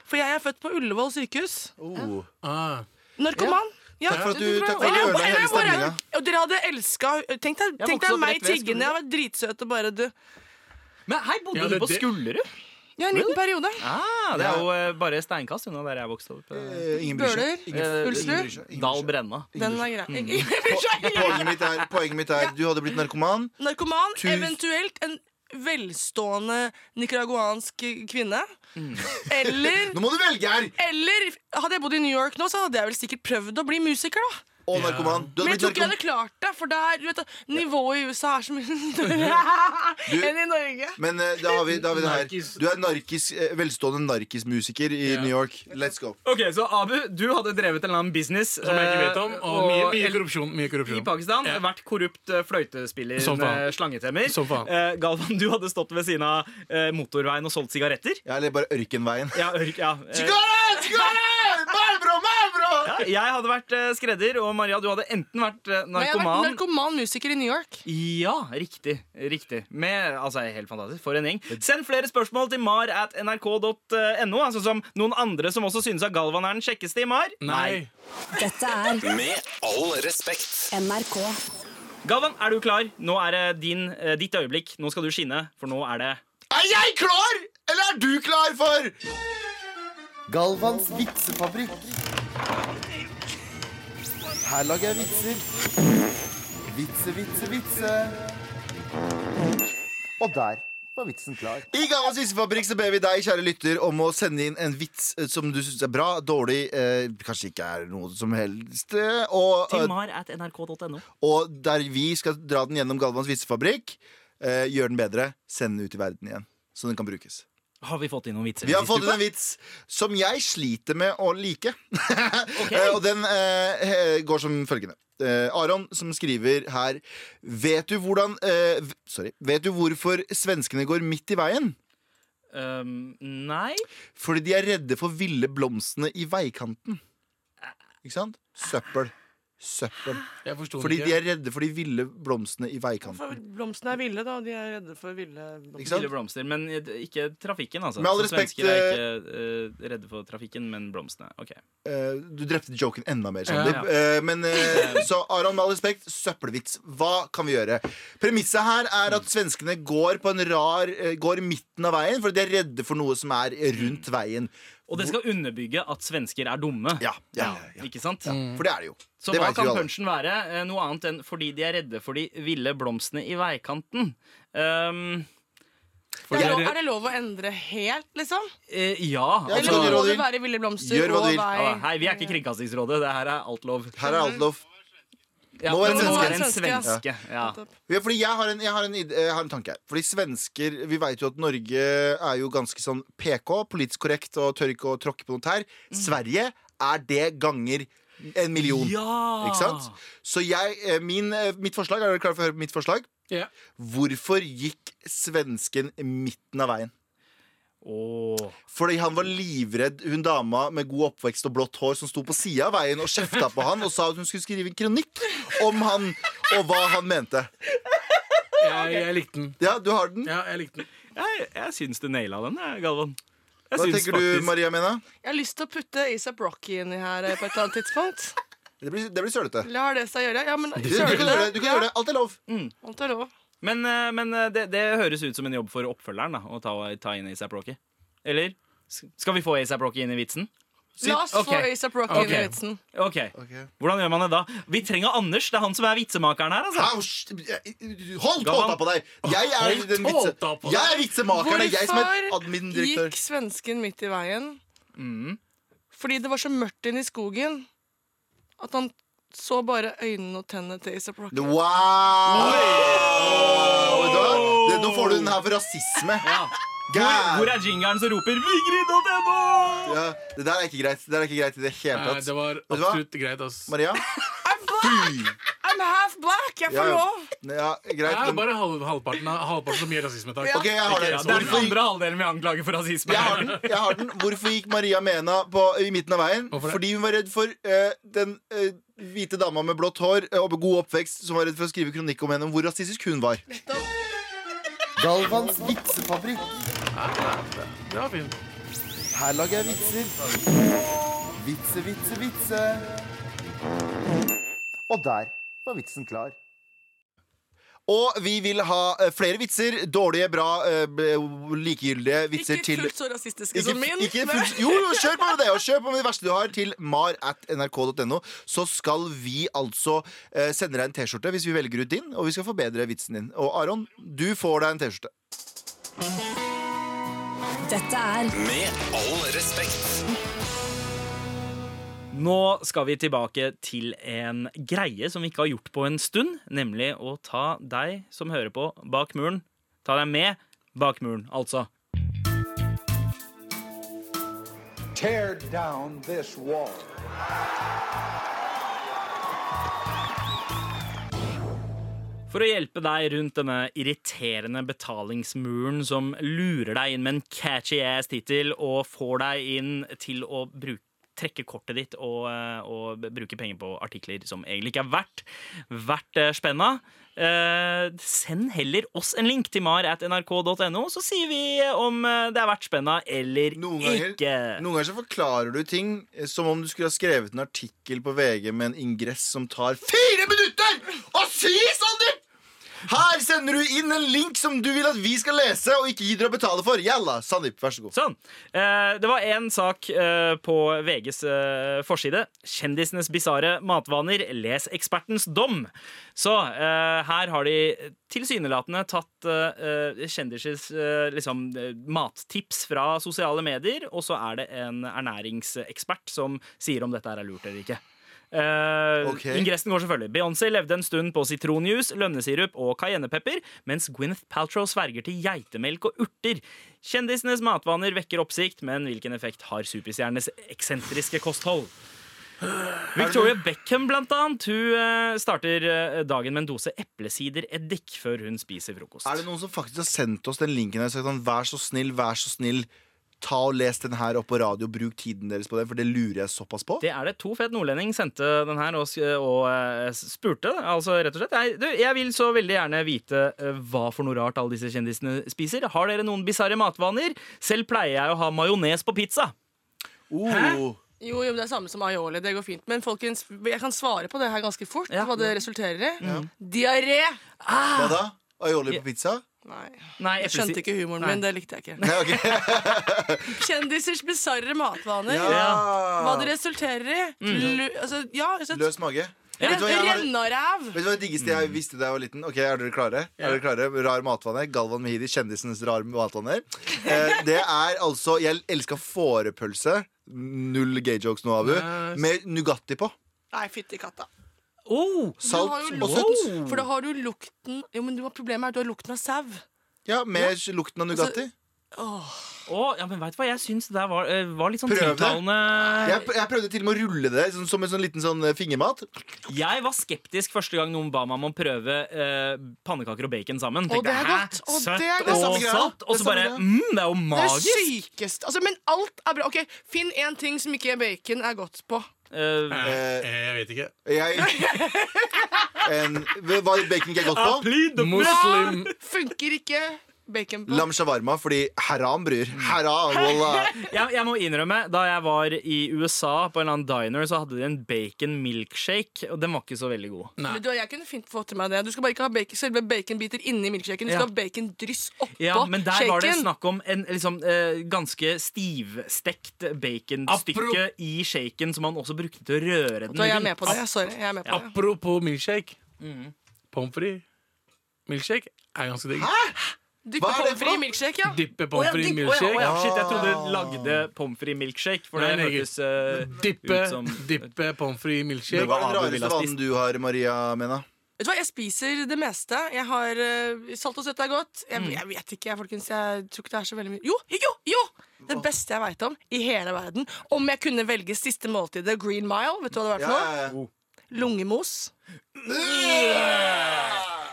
A: For jeg er født på Ullevål sykehus.
E: Oh.
G: Ah,
A: Narkoman. Ja.
E: Takk for at du,
A: Eller-
E: takk for at du ødela
A: eller-
E: hele
A: eller-
E: stemninga.
A: Og dere hadde elska Tenk deg,
F: Jeg vokste
A: tenk deg
F: opp
A: meg
F: rett ved
A: tiggende. Jeg var dritsøt og bare du.
F: Men hei, bodde
G: Ja, det-
F: du på
G: det-
F: Skullerud?
A: Ja, en liten periode.
F: Ah, det er jo eh, bare steinkast unna der jeg vokste opp. eh.
E: Eh, Ingen bryr
A: Bøler.
E: seg. Ingen-
F: Eh,
E: ingen bryr seg, ingen
F: Dal
E: bryr seg. Mm.
F: Brenna.
A: Den er grei. Unnskyld.
E: Poenget mitt er, poenget mitt er du hadde blitt narkoman.
A: Narkoman,
E: Tusen-
A: eventuelt en velstående nicaraguansk kvinne. Eller
E: Mm. Nå må du velge her!
A: eller hadde jeg bodd i New York nå, så hadde jeg vel sikkert prøvd å bli musiker. da
E: Og narkoman. Du hadde
A: Men jeg tror
E: blitt
A: ikke jeg
E: narkoman.
A: hadde klart det, for der, du vet, at nivået i USA er så mye
E: Du-
A: større enn i Norge.
E: Men eh, da har vi, da har vi det her.
G: Narkis.
E: Du er narkis, eh, velstående narkismusiker i
G: Ja.
E: New York. Let's go.
F: Ok, Så Abu, du hadde drevet en eller annen business
G: som jeg ikke vet om.
F: eh,
G: Og mye, mye
F: el-
G: korrupsjon. Mye
F: i
G: korrupsjon.
F: Pakistan.
G: Ja.
F: Vært korrupt eh, fløytespiller
G: Som faen.
F: med slangetemmer.
G: Som faen.
F: Eh, Galvan, du hadde stått ved siden av eh, motorveien og solgt sigaretter.
E: Ja, eller bare Ørkenveien.
F: Ja, ørk, ja. Eh,
E: Sigaret! Sigaret! Malbro! Malbro!
F: ja, jeg hadde vært eh, skredder, og Maria, du hadde enten vært eh,
A: Men jeg har vært
F: narkoman
A: narkoman musiker i New York.
F: Ja, riktig. riktig Med, altså, Helt fantastisk. For en gjeng. Send flere spørsmål til mar at nrk.no, altså som noen andre som også synes at Galvan er den kjekkeste i Mar.
G: Nei.
C: Dette er
D: Med all respekt.
C: NRK.
F: Galvan, er du klar? Nå er det din, eh, ditt øyeblikk. Nå skal du skinne, for nå er det
E: Er jeg klar? Eller er du klar for Galvans vitsefabrikk. Her lager jeg vitser. Vitse, vitse, vitse. Og der var vitsen klar. I Galvans vitsefabrikk så ber vi deg, kjære lytter, om å sende inn en vits eh, som du syns er bra, dårlig, eh, kanskje ikke er noe som helst, eh, og,
F: til
E: eh,
F: mar at nrk.no.
E: og der vi skal dra den gjennom Galvans vitsefabrikk. eh, gjør den bedre, send den ut i verden igjen. Så den kan brukes.
F: Har vi fått inn noen vitser?
E: Vi har
F: sist
E: fått inn
F: uke?
E: en vits som jeg sliter med å like.
F: Ok.
E: Eh, Og den eh, he- går som følgende. Eh, Aron som skriver her Vet du hvordan eh, v- Sorry. Vet du hvorfor svenskene går midt i veien?
F: Øhm, Eh, nei.
E: Fordi de er redde for ville blomstene i veikanten. Ikke sant? Søppel. Søppel.
G: Jeg forsto
E: Fordi
G: ikke.
E: de er redde for de ville blomstene i veikanten.
A: For blomstene er ville, da. De er redde for ville blomster.
E: Ikke sant?
F: Ville blomster, men eh, ikke trafikken, altså.
E: Med all
F: Så
E: respekt,
F: Svensker er ikke eh, redde for trafikken, men blomstene. Ok.
E: Eh, du drepte joken enda mer, Sandeep.
F: Ja,
E: Eh, men eh, Så Aron, med all respekt, søppelvits. Hva kan vi gjøre? Premisset her er at svenskene går på en rar eh, Går i midten av veien fordi de er redde for noe som er rundt veien.
F: Og det skal underbygge at svensker er dumme.
E: Ja, ja, ja, ja.
F: Ikke sant?
E: For det er det jo.
F: Mm. Så
E: det
F: hva
E: vet vi
F: kan
E: jo alle.
F: punchen være? Eh, Noe annet enn fordi de er redde for de ville blomstene i veikanten. Ehm,
A: Det er,
G: Fordi-
A: lov, er det lov å endre helt, liksom?
F: eh,
E: Ja,
F: ja,
A: Eller
E: altså-
A: må det
E: Gjør hva du vil.
A: være ville blomster
E: Gjør hva
A: og
E: du vil.
F: Ja,
A: vei?
F: Hei, vi er ikke Kringkastingsrådet. Det her er alt lov.
E: Her er alt lov.
F: Ja,
E: Må være en
F: det må
E: svenske.
F: være en svenske. Ja.
E: Ja, fordi jeg har, en, jeg, har en, id- eh, jeg har en tanke her. Fordi svensker Vi vet jo at Norge er jo ganske sånn PK, politisk korrekt, og tør ikke å tråkke på noe tær.
F: Mm.
E: Sverige er det ganger en million.
F: Ja.
E: Ikke sant?
G: Ah.
E: Så jeg, eh, min, eh, mitt forslag, er dere klare for å høre på mitt forslag?
G: Ja.
E: Hvorfor gikk svensken i midten av veien?
F: Åh.
E: Fordi han var livredd hun dama med god oppvekst og blått hår som sto på sida av veien og kjefta på han og sa at hun skulle skrive en kronikk om han og hva han mente.
F: Ah,
G: Jeg, jeg likte den.
E: Ja, du har den.
G: Ja, jeg likte den.
F: Jeg, jeg syns du naila den, jeg, Galvan. Jeg
E: Hva
F: syns
E: tenker du,
F: faktisk-
E: Maria Mena?
A: Jeg har lyst til å putte A$AP Rocky inni her eh, på et eller annet tidspunkt.
E: Det blir, det blir sølete.
A: Lar det seg gjøre? Ja, men
E: Du, kan gjøre det, du kan gjøre det. Alt er lov.
A: Alt er lov.
F: Men, eh, men eh, det, det høres ut som en jobb for oppfølgeren, da, å ta, ta inn ASAP Rocky. Eller? S- Skal vi få ASAP Rocky inn i vitsen?
A: La oss
F: ok.
A: få A$AP Rocky inn i
G: Ok.
A: vitsen.
F: Ok, Hvordan gjør man det da? Vi trenger Anders. Det er han som er vitsemakeren her. altså
E: Ouch! Hold tåta på deg! Jeg er
G: Hold
E: den vitse,
G: tåta på deg.
E: jeg er vitsemakeren. det er Jeg som er
A: Hvorfor
E: admin-direktør.
A: gikk svensken midt i veien?
E: Mm.
A: Fordi det var så mørkt inne i skogen at han så bare øynene og tennene til A$AP Rocky.
E: Wow! Vet du hva? Det, nå får du den her for rasisme.
F: Ja. Hvor,
E: Gæren.
F: hvor er jingeren som roper 'Vigrid.no'?
E: Ja, det der er ikke greit. Det der er ikke greit i det hele
G: Nei,
E: tatt.
G: det var
E: du hva?
G: absolutt greit, ass.
E: Maria? Fy!
A: I'm half black! Jeg
E: Ja,
A: får
E: ja.
A: lov!
E: ja, greit.
G: Ja,
E: Men,
G: bare halv, halvparten, av- halvparten som gir rasisme, takk.
E: ok, jeg har det.
F: Ja, det er den
E: Hvorfor,
F: andre halvdelen vi anklager for rasisme.
E: jeg har den, jeg har den. Hvorfor gikk Maria Mena på, i midten av veien?
G: Hvorfor det?
E: Fordi hun var redd for eh, den eh, hvite dama med blått hår eh, og med god oppvekst som var redd for å skrive kronikk om henne om hvor rasistisk hun var. Galvans vitsefabrikk.
G: Det var fint.
E: Her lager jeg vitser. Vitse, vitse, vitse. Og der var vitsen klar. Og vi vil ha eh, flere vitser. Dårlige, bra, eh, b- likegyldige vitser
A: Ikke
E: til
A: fullt så rasistiske som min.
E: ikke
A: men-
E: fullt- jo, jo, kjør på med det! Og kjør på med det verste du har, til mar at nrk.no. Så skal vi altså eh, sende deg en T-skjorte hvis vi velger ut din, og vi skal forbedre vitsen din. Og Aron, du får deg en T-skjorte.
C: Dette er
D: Med all respekt.
F: Nå skal vi tilbake til en greie som vi ikke har gjort på en stund, nemlig å ta deg som hører på bak muren, ta deg med bak muren, altså.
B: Tear down this wall.
F: For å hjelpe deg rundt denne irriterende betalingsmuren som lurer deg inn med en catchy ass tittel og får deg inn til å bruke trekke kortet ditt og, eh, og bruke penger på artikler som egentlig ikke er verdt, verdt eh, spenna. Eh, send heller oss en link til mar at nrk.no, så sier vi om eh, det er verdt spenna eller
E: Noen ganger,
F: ikke.
E: noen ganger så forklarer du ting eh, som om du skulle ha skrevet en artikkel på VG med en ingress som tar fire minutter å si, Sander! Her sender du inn en link som du vil at vi skal lese, og ikke gidder å betale for. Jalla, Sandeep, vær så god.
F: Sånn. Eh, det var én sak eh, på VGs eh, forside. 'Kjendisenes bisarre matvaner. Les ekspertens dom'. Så eh, her har de tilsynelatende tatt eh, eh, kjendisers eh, liksom, eh, mattips fra sosiale medier, og så er det en ernæringsekspert som sier om dette her er lurt eller ikke. Eh,
E: Ok.
F: Ingressen går selvfølgelig. Beyoncé levde en stund på sitronjuice, lønnesirup og cayennepepper, mens Gwyneth Paltrow sverger til geitemelk og urter. Kjendisenes matvaner vekker oppsikt, men hvilken effekt har superstjernenes eksentriske kosthold? Victoria Beckham blant annet, hun eh, starter eh, dagen med en dose eplesider-eddik før hun spiser frokost.
E: Er det noen som faktisk har sendt oss den linken her og sagt sånn, vær så snill, vær så snill, ta og les den her opp på radio, bruk tiden deres på den, for det lurer jeg såpass på?
F: Det er det. To fet nordlending sendte den her og, s- og eh, spurte. Altså rett og slett jeg, du, jeg vil så veldig gjerne vite eh, hva for noe rart alle disse kjendisene spiser. Har dere noen bisarre matvaner? Selv pleier jeg å ha majones på pizza.
E: Oh,
A: Jo, jo, det er samme som aioli. Det går fint. Men folkens, jeg kan svare på det her ganske fort.
F: Ja.
A: Hva det resulterer i. Diaré!
E: hva da? Aioli på pizza?
A: Nei,
F: Nei,
A: jeg
F: eplesi-
A: skjønte ikke humoren min. Det likte jeg ikke.
E: Nei, ok.
A: Kjendisers bisarre matvaner. Hva det
E: ja.
A: resulterer i. Lu, altså, ja, altså,
E: Løs mage. Vet du hva jeg har-
A: Rennaræv!
E: Vet du hva det diggeste jeg visste da jeg var liten? Ok, Er dere klare? Er dere klare? Rar matvaner. Galvan Mehidi, kjendisenes rare matvaner. Eh, det er altså Jeg elska fårepølse. Null gay jokes nå, Abu. Med Nugatti på.
A: Nei, fytti katta.
F: Oh,
A: Du har
E: Salt
A: jo
E: og
A: lukten-
E: søtt.
A: For da har du lukten Jo, men du har problemet er at du har lukten av sau.
E: Ja, Med lukten av Nugatti.
F: å, ja, men veit du hva? Jeg syns det der var, eh, var litt sånn
E: Prøv det.
F: tiltalende.
E: Jeg, jeg prøvde til og med å rulle det sånn, som en sånn liten sånn eh, fingermat.
F: Jeg var skeptisk første gang noen ba meg om å prøve eh, pannekaker og bacon sammen.
A: Å, det er
F: Tenkte,
A: godt.
F: hæ?
A: Å,
F: Søtt
A: det er
E: Det
F: og
A: godt.
E: er samme
F: salt.
E: greia.
F: Og
E: Det
F: så
E: er
F: bare
E: samme
F: mm, Det er jo
A: Det er
F: magisk.
A: sykest. Altså, men alt er bra. Ok, Finn én ting som ikke bacon er godt på.
F: Eh,
E: Eh,
G: Jeg vet ikke.
E: jeg en, Hva bacon ikke er godt på?
F: plead the
G: Muslim
A: Funker ikke bacon på.
E: Lam shawarma, fordi haram bryr. Haram, wallah.
F: jeg, jeg må innrømme, da jeg var i USA på en eller annen diner, så hadde de en bacon milkshake, og den var ikke så veldig god.
A: Men du, jeg kunne fint få til meg det. Du skal bare ikke ha bacon, selve baconbiter inni milkshaken. Du
F: Ja.
A: skal ha bacondryss oppå
F: Ja, Men der var det
A: shaken.
F: snakk om en liksom, eh, ganske stivstekt baconstykke
G: Apro-
F: i shaken, som man også brukte til å røre den
A: Så jeg er
F: rundt.
A: med på det. Sorry. jeg er med på det
G: Apropos milkshake.
F: Mm.
G: Pommes frites. Milkshake er ganske digg.
A: Dyppe
E: Hva er det
A: pommes
E: for
A: frites
E: noe?
A: i milkshake, ja.
G: Dyppe
F: Å ja,
G: pommes frites i
F: de- å ja, å
G: milkshake.
F: ja, shit, jeg trodde du lagde pommes frites milkshake, for det
G: Nei, nei,
F: hørtes eh,
G: Dippe,
F: ut som
G: dippe pommes frites i
E: Det
G: milkshake.
E: var den
F: Abu ville
E: rareste
F: ha
E: vanen du har, Maria Mena.
A: Vet du hva, Jeg spiser det meste. Jeg har eh, Salt og søtt er godt. Jeg,
F: Mm.
A: jeg vet ikke, jeg, folkens. Jeg tror ikke det er så veldig mye Jo, jo, jo! Det beste jeg veit om i hele verden. Om jeg kunne velge siste måltidet, Green Mile, vet du hva det var
E: Ja,
A: for noe?
E: ja, ja.
A: Lungemos.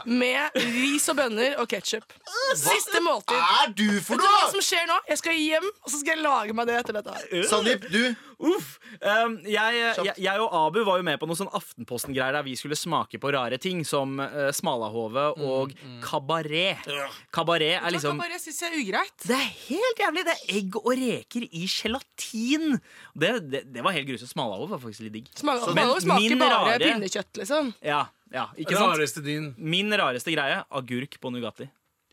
A: Med ris og bønner og ketsjup. Siste måltid.
E: er du for
A: Vet du hva
E: noe?!
A: som skjer nå? Jeg skal hjem, og så skal jeg lage meg det etter dette. her.
E: Sandeep, du.
F: Uff! Um, jeg, jeg, jeg og Abu var jo med på noe sånn Aftenposten-greier der vi skulle smake på rare ting som uh, smalahove og kabaret. Kabaret er
A: Takk,
F: liksom
A: bare, jeg synes det er ugreit.
F: Det er helt jævlig! Det er egg og reker i gelatin. Det, det, det var helt grusomt. Smalahove var faktisk litt digg.
A: Smaker,
F: Men
A: men, smaker
F: min
A: bare
F: rare-
A: pinnekjøtt, liksom.
F: Ja, ja, ikke sant?
G: Rareste din.
F: Min rareste greie agurk på Nugatti.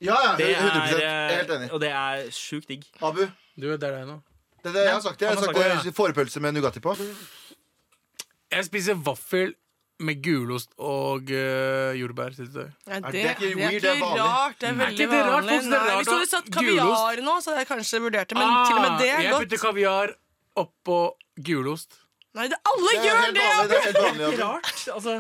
E: Ja, ja,
F: Det er,
E: 100
F: eh,
E: Helt enig.
F: Og det er sjukt digg.
E: Abu.
G: Du vet, det er deg nå.
E: Det er det jeg har sagt. Jeg
F: han
E: har
F: har
E: sagt
F: sagt
E: det er Fårepølse med Nugatti på.
G: Jeg spiser vaffel med gulost og uh, jordbærsyltetøy.
A: Ja,
E: det er ikke weird, det er vanlig.
A: rart. Det er
G: Nei,
A: veldig
G: ikke det er rart,
A: vanlig.
G: Fosen, det er
A: Nei,
G: rart
A: Hvis du hadde
G: å-
A: satt kaviar nå, så hadde jeg kanskje vurdert det. Men til og med det er
G: Ah, jeg
A: godt.
G: putter kaviar oppå gulost.
A: Nei, det, alle
E: Det er
A: gjør
E: helt
A: det!
E: vanlig. Det er helt vanlig
F: Ikke
E: Abu.
F: rart. Altså,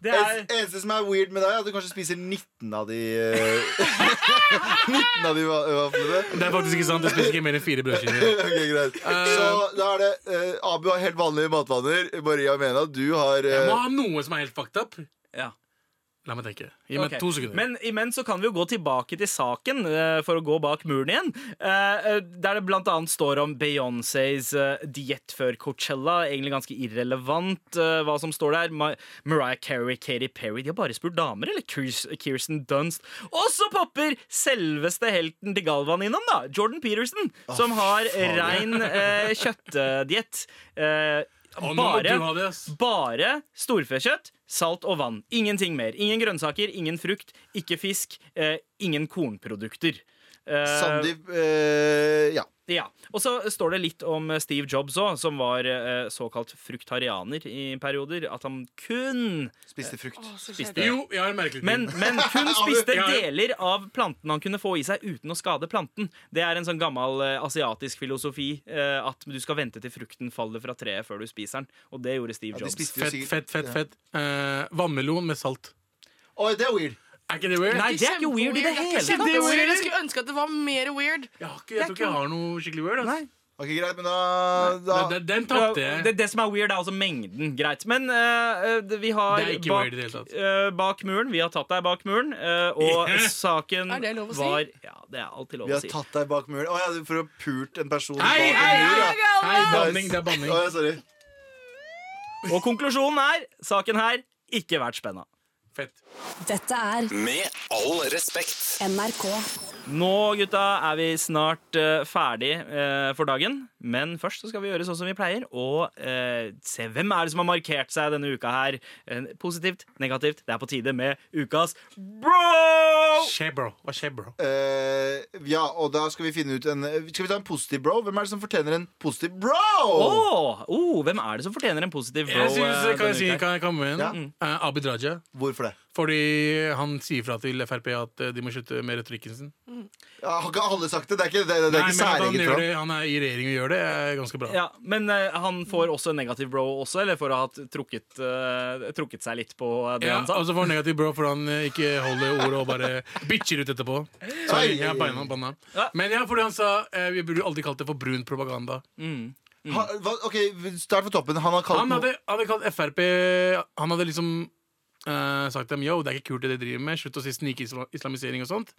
F: det er
E: Det eneste som er weird med deg, er at du kanskje spiser 19 av de eh, 19 av de va- vaflene.
G: Det er faktisk ikke sant. Jeg spiser ikke mer enn fire brødskiver.
E: Ok, greit.
F: Eh.
E: Så da er det eh, Abu har helt vanlige matvaner. Maria Mena, du har eh,
G: Jeg må ha noe som er helt fucked up.
F: ja.
G: La meg tenke. Gi meg
F: Ok.
G: to sekunder.
F: Men imens så kan vi jo gå tilbake til saken eh, for å gå bak muren igjen. eh, eh, der det blant annet står om Beyoncés uh, diett før Coachella. Egentlig ganske irrelevant eh, hva som står der. Ma Mariah Carey, Katy Perry De har bare spurt damer, eller Kirs- Kirsten Dunst. Og så popper selveste helten til Galvan innom, da. Jordan Peterson, som har rein uh, kjøttdiett. Eh,
G: Å, nå må
F: bare,
G: du ha det, ass.
F: bare storfekjøtt, salt og vann. Ingenting mer. Ingen grønnsaker, ingen frukt, ikke fisk, eh, ingen kornprodukter. Eh,
E: Sandeep eh, Ja.
F: Ja, Og så står det litt om Steve Jobs òg, som var eh, såkalt fruktarianer i perioder. At han kun
E: Spiste frukt.
A: Så
F: Spiste.
A: kjedelig.
G: Jo, jeg har merket
F: men, men kun spiste
G: Ja, ja.
F: deler av planten han kunne få i seg uten å skade planten. Det er en sånn gammel eh, asiatisk filosofi eh, at du skal vente til frukten faller fra treet før du spiser den. Og det gjorde Steve
E: Ja, de
F: Jobs.
E: spiste jo
G: Fett,
E: sikkert-
G: fett, fett.
E: Ja.
G: fett Eh, Vannmelon med salt.
E: Oi, det er weird.
G: Er ikke det weird?
F: Nei, det er ikke weird i det hele
A: Kjempe-
F: tatt!
A: weird. Jeg skulle ønske at det var mer weird.
G: Jeg, har ikke, jeg tror ikke jeg har noe skikkelig weird. Altså.
E: Ok, Greit, men da, da
G: Den, den, den
F: Ja,
G: tapte jeg.
F: Det, det som er weird, er altså mengden. Greit. Men eh, eh, vi har
G: Det er ikke
F: bak,
G: weird i det hele tatt.
F: eh, bak muren. Vi har tatt deg bak muren, eh, og saken
A: Er det lov å si?
F: var Ja, det er alltid lov
E: Vi
F: å
E: har
F: si.
E: tatt deg bak muren. Å ja, du- for å ha pult en person
G: Hei,
E: bak
G: hei,
E: en mur. ja.
G: Hei,
E: Nice.
G: banning, det er banning.
E: Å, ja, sorry.
F: Og konklusjonen er saken her ikke vært spenna.
G: Fett.
C: Dette er
D: Med all respekt.
C: NRK.
F: Nå, gutta, er vi snart eh, ferdig eh, for dagen. Men først så skal vi gjøre sånn som vi pleier, og eh, se hvem er det som har markert seg denne uka her. Eh, positivt, negativt. Det er på tide med ukas bro!
G: Skje, bro. Hva skjer, bro?
E: Eh, ja, og da skal vi finne ut en eh, Skal vi ta en positiv bro? Hvem er det som fortjener en positiv bro?
F: Åh, oh, hvem er det som fortjener en positiv bro?
G: Jeg synes,
F: eh,
G: kan, jeg
F: denne
G: si,
F: uka her?
G: kan jeg komme inn?
E: Ja.
G: Eh, Abid Raja.
E: Hvorfor det?
G: Fordi han sier fra til Frp at eh, de må slutte med retorikken sin.
E: Ja, har ikke alle sagt det? Det er ikke, det, det
G: Nei, men
E: er ikke
G: at han,
E: særeget
G: gjør
E: for
G: det,
E: ham.
G: han er i regjering og gjør det, er ganske bra.
F: Ja, Men eh, han får også en negativ bro også, eller for å ha hatt trukket, eh, trukket seg litt på det
G: Ja,
F: han sa.
G: og så får han negativ bro for han eh, ikke holder ordet og bare bitcher ut etterpå. Sorry,
E: Ai,
G: jeg
E: ai,
G: banna,
E: ai.
G: banna.
F: Ja.
G: Men ja, fordi han sa eh, Vi burde aldri kalt det for brun propaganda.
E: Ha, hva- ok, Start fra toppen. Han har kalt
G: Han hadde, hadde kalt Frp Han hadde liksom eh, sagt dem yo, det er ikke kult det de driver med, slutt å si snikislamisering og sånt.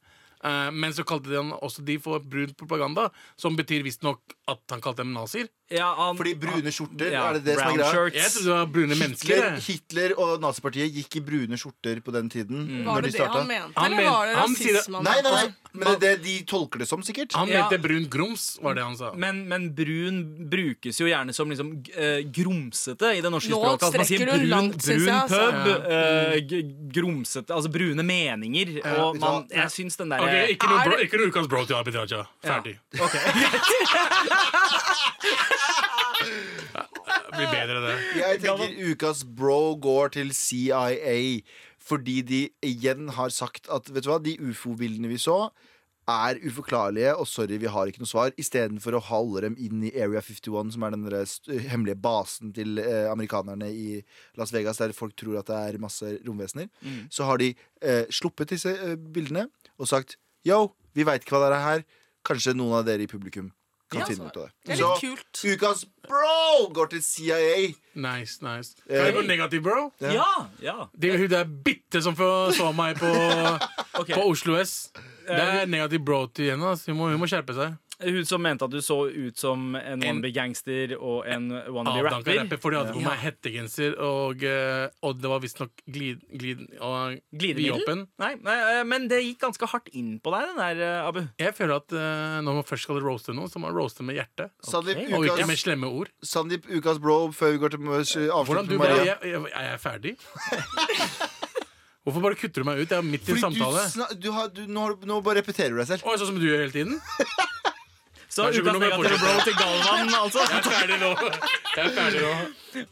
G: Eh, men så kalte de han også de for brun propaganda, som betyr visstnok at han kalte dem nazier.
F: Ja, han-
E: Fordi brune skjorter,
F: ja,
E: er det det som
F: brown
E: er greia?
F: shirts.
G: Jeg trodde det var brune mennesker.
E: Hitler,
G: jeg.
E: Hitler og nazipartiet gikk i brune skjorter på den tiden.
G: Mm.
A: Var
E: Når de
A: det det han
E: starta.
A: mente,
G: Han
A: eller var
G: men-
A: det
G: han sier det-
A: rasisme? han
E: Nei, nei, nei,
A: mente?
E: men det er det de tolker det som, sikkert.
G: Han
F: Ja.
G: mente brun grums, var det han sa.
F: Men, men brun brukes jo gjerne som liksom eh, grumsete i det norske
A: Nå
F: språket. Altså, man sier
A: strekker du
F: brun,
A: langt, synes
F: brun
A: jeg, altså.
F: pub, eh, g- grumsete Altså brune meninger. og
E: vet du hva?
F: man, jeg syns den derre
G: Ok, ikke noe,
A: Er
G: bro,
A: det-
G: ikke noe ukas bro til Abid Raja. Ferdig. Det blir bedre, det.
E: Jeg tenker ukas bro går til CIA fordi de igjen har sagt at vet du hva, de ufo-bildene vi så, er uforklarlige, og sorry, vi har ikke noe svar. Istedenfor å holde dem inn i Area 51, som er den der st- hemmelige basen til eh, amerikanerne i Las Vegas, der folk tror at det er masse romvesener,
A: Mm.
E: så har de eh, sluppet disse eh, bildene og sagt yo, vi veit ikke hva det er her. Kanskje noen av dere i publikum kan
A: Ja,
E: finne
A: så-
E: ut av det.
A: Det er litt kult.
E: Så ukas bro går til CIA.
G: Nice, nice. Kan jeg gå negativ, bro?
F: Ja, ja.
G: Det er hun der bitte som får- så meg på,
F: Ok.
G: på Oslo S. Det er negativ bro til henne. ass. Hun må, hun må skjerpe seg.
F: Hun som mente at du så ut som en
G: En-
F: wannabe gangster og en wannabe
G: Avdanka
F: rapper.
G: rapper. For de hadde på meg hettegenser, og, eh, og det var visstnok glid, glid, og eh,
F: Glidemiddel?
G: vidåpen.
F: Nei, nei, eh, men det gikk ganske hardt inn på deg, den der, eh, Abu.
G: Jeg føler at eh, når man først skal roaste noen, så må man roaste med hjertet.
E: Sandeep,
G: Og
E: ukas,
G: ikke med slemme ord.
E: Sandeep, ukas bro før vi går til eh, avslutt
G: Hvordan du
E: med
G: bare,
E: Maria.
G: jeg, jeg, jeg er ferdig. Hvorfor bare kutter du meg ut? Jeg er midt i en
E: Fordi du
G: samtale.
E: sna- du har, du, nå, har du- nå bare repeterer du deg selv.
G: Å, sånn som du gjør hele tiden?
F: Så
G: Vær så god,
F: ukas
G: nå må jeg
F: negative
G: fortsette.
F: bro til Galvan, altså.
G: Jeg er ferdig nå. Jeg er ferdig nå.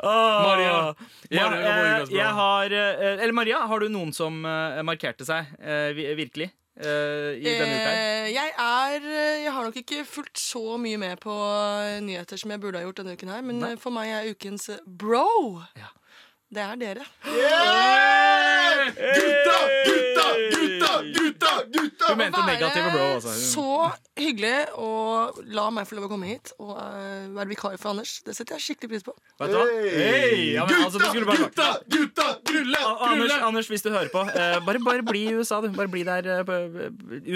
F: Åh.
G: Maria.
F: Ja,
G: Maria,
F: eh,
G: Maria Gasbra.
F: jeg har eh, Eller Maria, har du noen som eh, markerte seg eh, vi- virkelig eh, i denne uka her?
A: Eh, jeg er Jeg har nok ikke fulgt så mye med på eh, nyheter som jeg burde ha gjort denne uken her, men eh, for meg er ukens eh, bro.
F: Ja.
A: Det er dere.
E: Gutta, gutta, gutta, gutta,
F: Eh, Du
E: gutta!
F: mente negative bro, altså.
A: så hyggelig å la meg få lov å komme hit og eh, være vikar for Anders. Det setter jeg skikkelig pris på.
F: Vet du hva? Hey, ja, men, altså, du
E: Gutta,
F: skulle bare
E: gutta, gutta, grulle,
F: Ah, Anders,
E: grulle!
F: Anders, hvis du hører på, eh, bare, bare bli i USA, du. Bare bli der eh, på-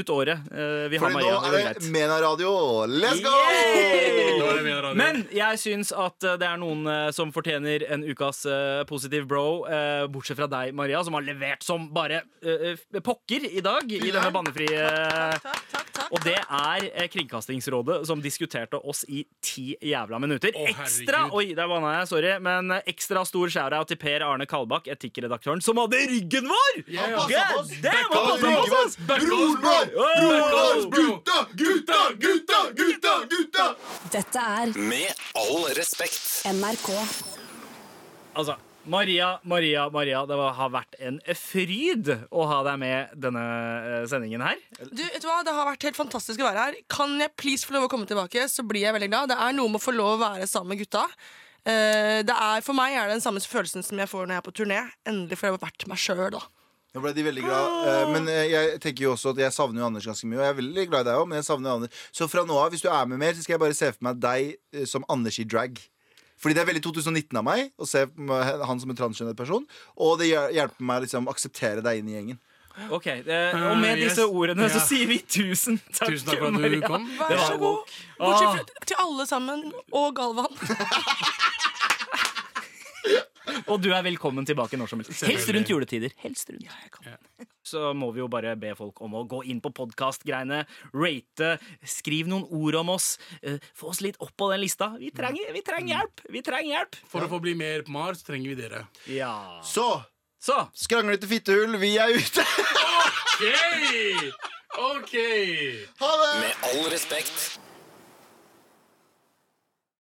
F: ut året. Eh, vi har
E: Fordi
F: Maria.
E: nå
F: det går
E: er
F: greit.
E: det Mena Radio. Let's go!
F: Yay!
G: Nå er det min radio.
F: Men jeg syns at eh, det er noen eh, som fortjener en ukas eh, positiv bro, eh, bortsett fra deg, Maria, som har levert som bare eh, eh, pokker i dag i denne bannefrie eh, Og det er eh, Kringkastingsrådet som diskuterte oss i ti jævla minutter.
G: Å,
F: ekstra
G: herregud.
F: oi, der vannet jeg, sorry, men eh, ekstra stor shout-out til Per Arne Kalbakk, etikkredaktøren, som hadde ryggen vår!
G: Han
E: passet
F: God
E: oss.
F: damn, han
E: Kan
F: passet
E: du
F: oss,
E: ikke
F: ass!
E: være- Broren vår! Broren vår!
F: Back off, bro!
E: Gutta! Gutta! Gutta! Gutta! Gutta!
C: Dette er
D: Med all respekt.
C: NRK.
F: Altså, Maria, Maria, Maria, det var, har vært en fryd å ha deg med denne eh, sendingen her.
A: Du, vet du hva? Det har vært helt fantastisk å være her. Kan jeg please få lov å komme tilbake, så blir jeg veldig glad. Det er noe med å få lov å være sammen med gutta. Eh, det er, for meg er det den samme følelsen som jeg får når jeg er på turné. Endelig får jeg vært meg sjøl, da.
E: Nå ble de veldig glad eh, Men eh, jeg tenker jo også at jeg savner jo Anders ganske mye. Og jeg er veldig glad i deg òg, men jeg savner jo Anders. Så fra nå av, hvis du er med mer, så skal jeg bare se for meg deg eh, som Anders i drag. Fordi det er veldig 2019 av meg å se på meg- han som en transkjønnet person. Og det hjel- hjelper meg å liksom, akseptere deg inn i gjengen.
F: Ok, eh, Og med
G: Eh, yes.
F: disse ordene så
G: Ja.
F: sier vi tusen takk,
G: Tusen takk for at du
F: Maria.
G: kom.
F: Det
A: Vær
F: var
A: så
F: woke.
A: god. Bortsett fra til alle sammen, og Galvan.
F: Og du er velkommen tilbake når som helst. Helst rundt juletider. Helst rundt. Så må vi jo bare be folk om å gå inn på podkastgreiene, rate, skriv noen ord om oss. eh, Få oss litt opp på den lista. Vi trenger, vi
G: Mm.
F: trenger hjelp! Vi trenger hjelp!
G: For å få bli mer på Mars trenger vi dere.
F: Ja.
E: Så
F: Så
E: skranglete fittehull, vi er ute!
G: OK! OK!
E: Ha det!
D: Med all respekt.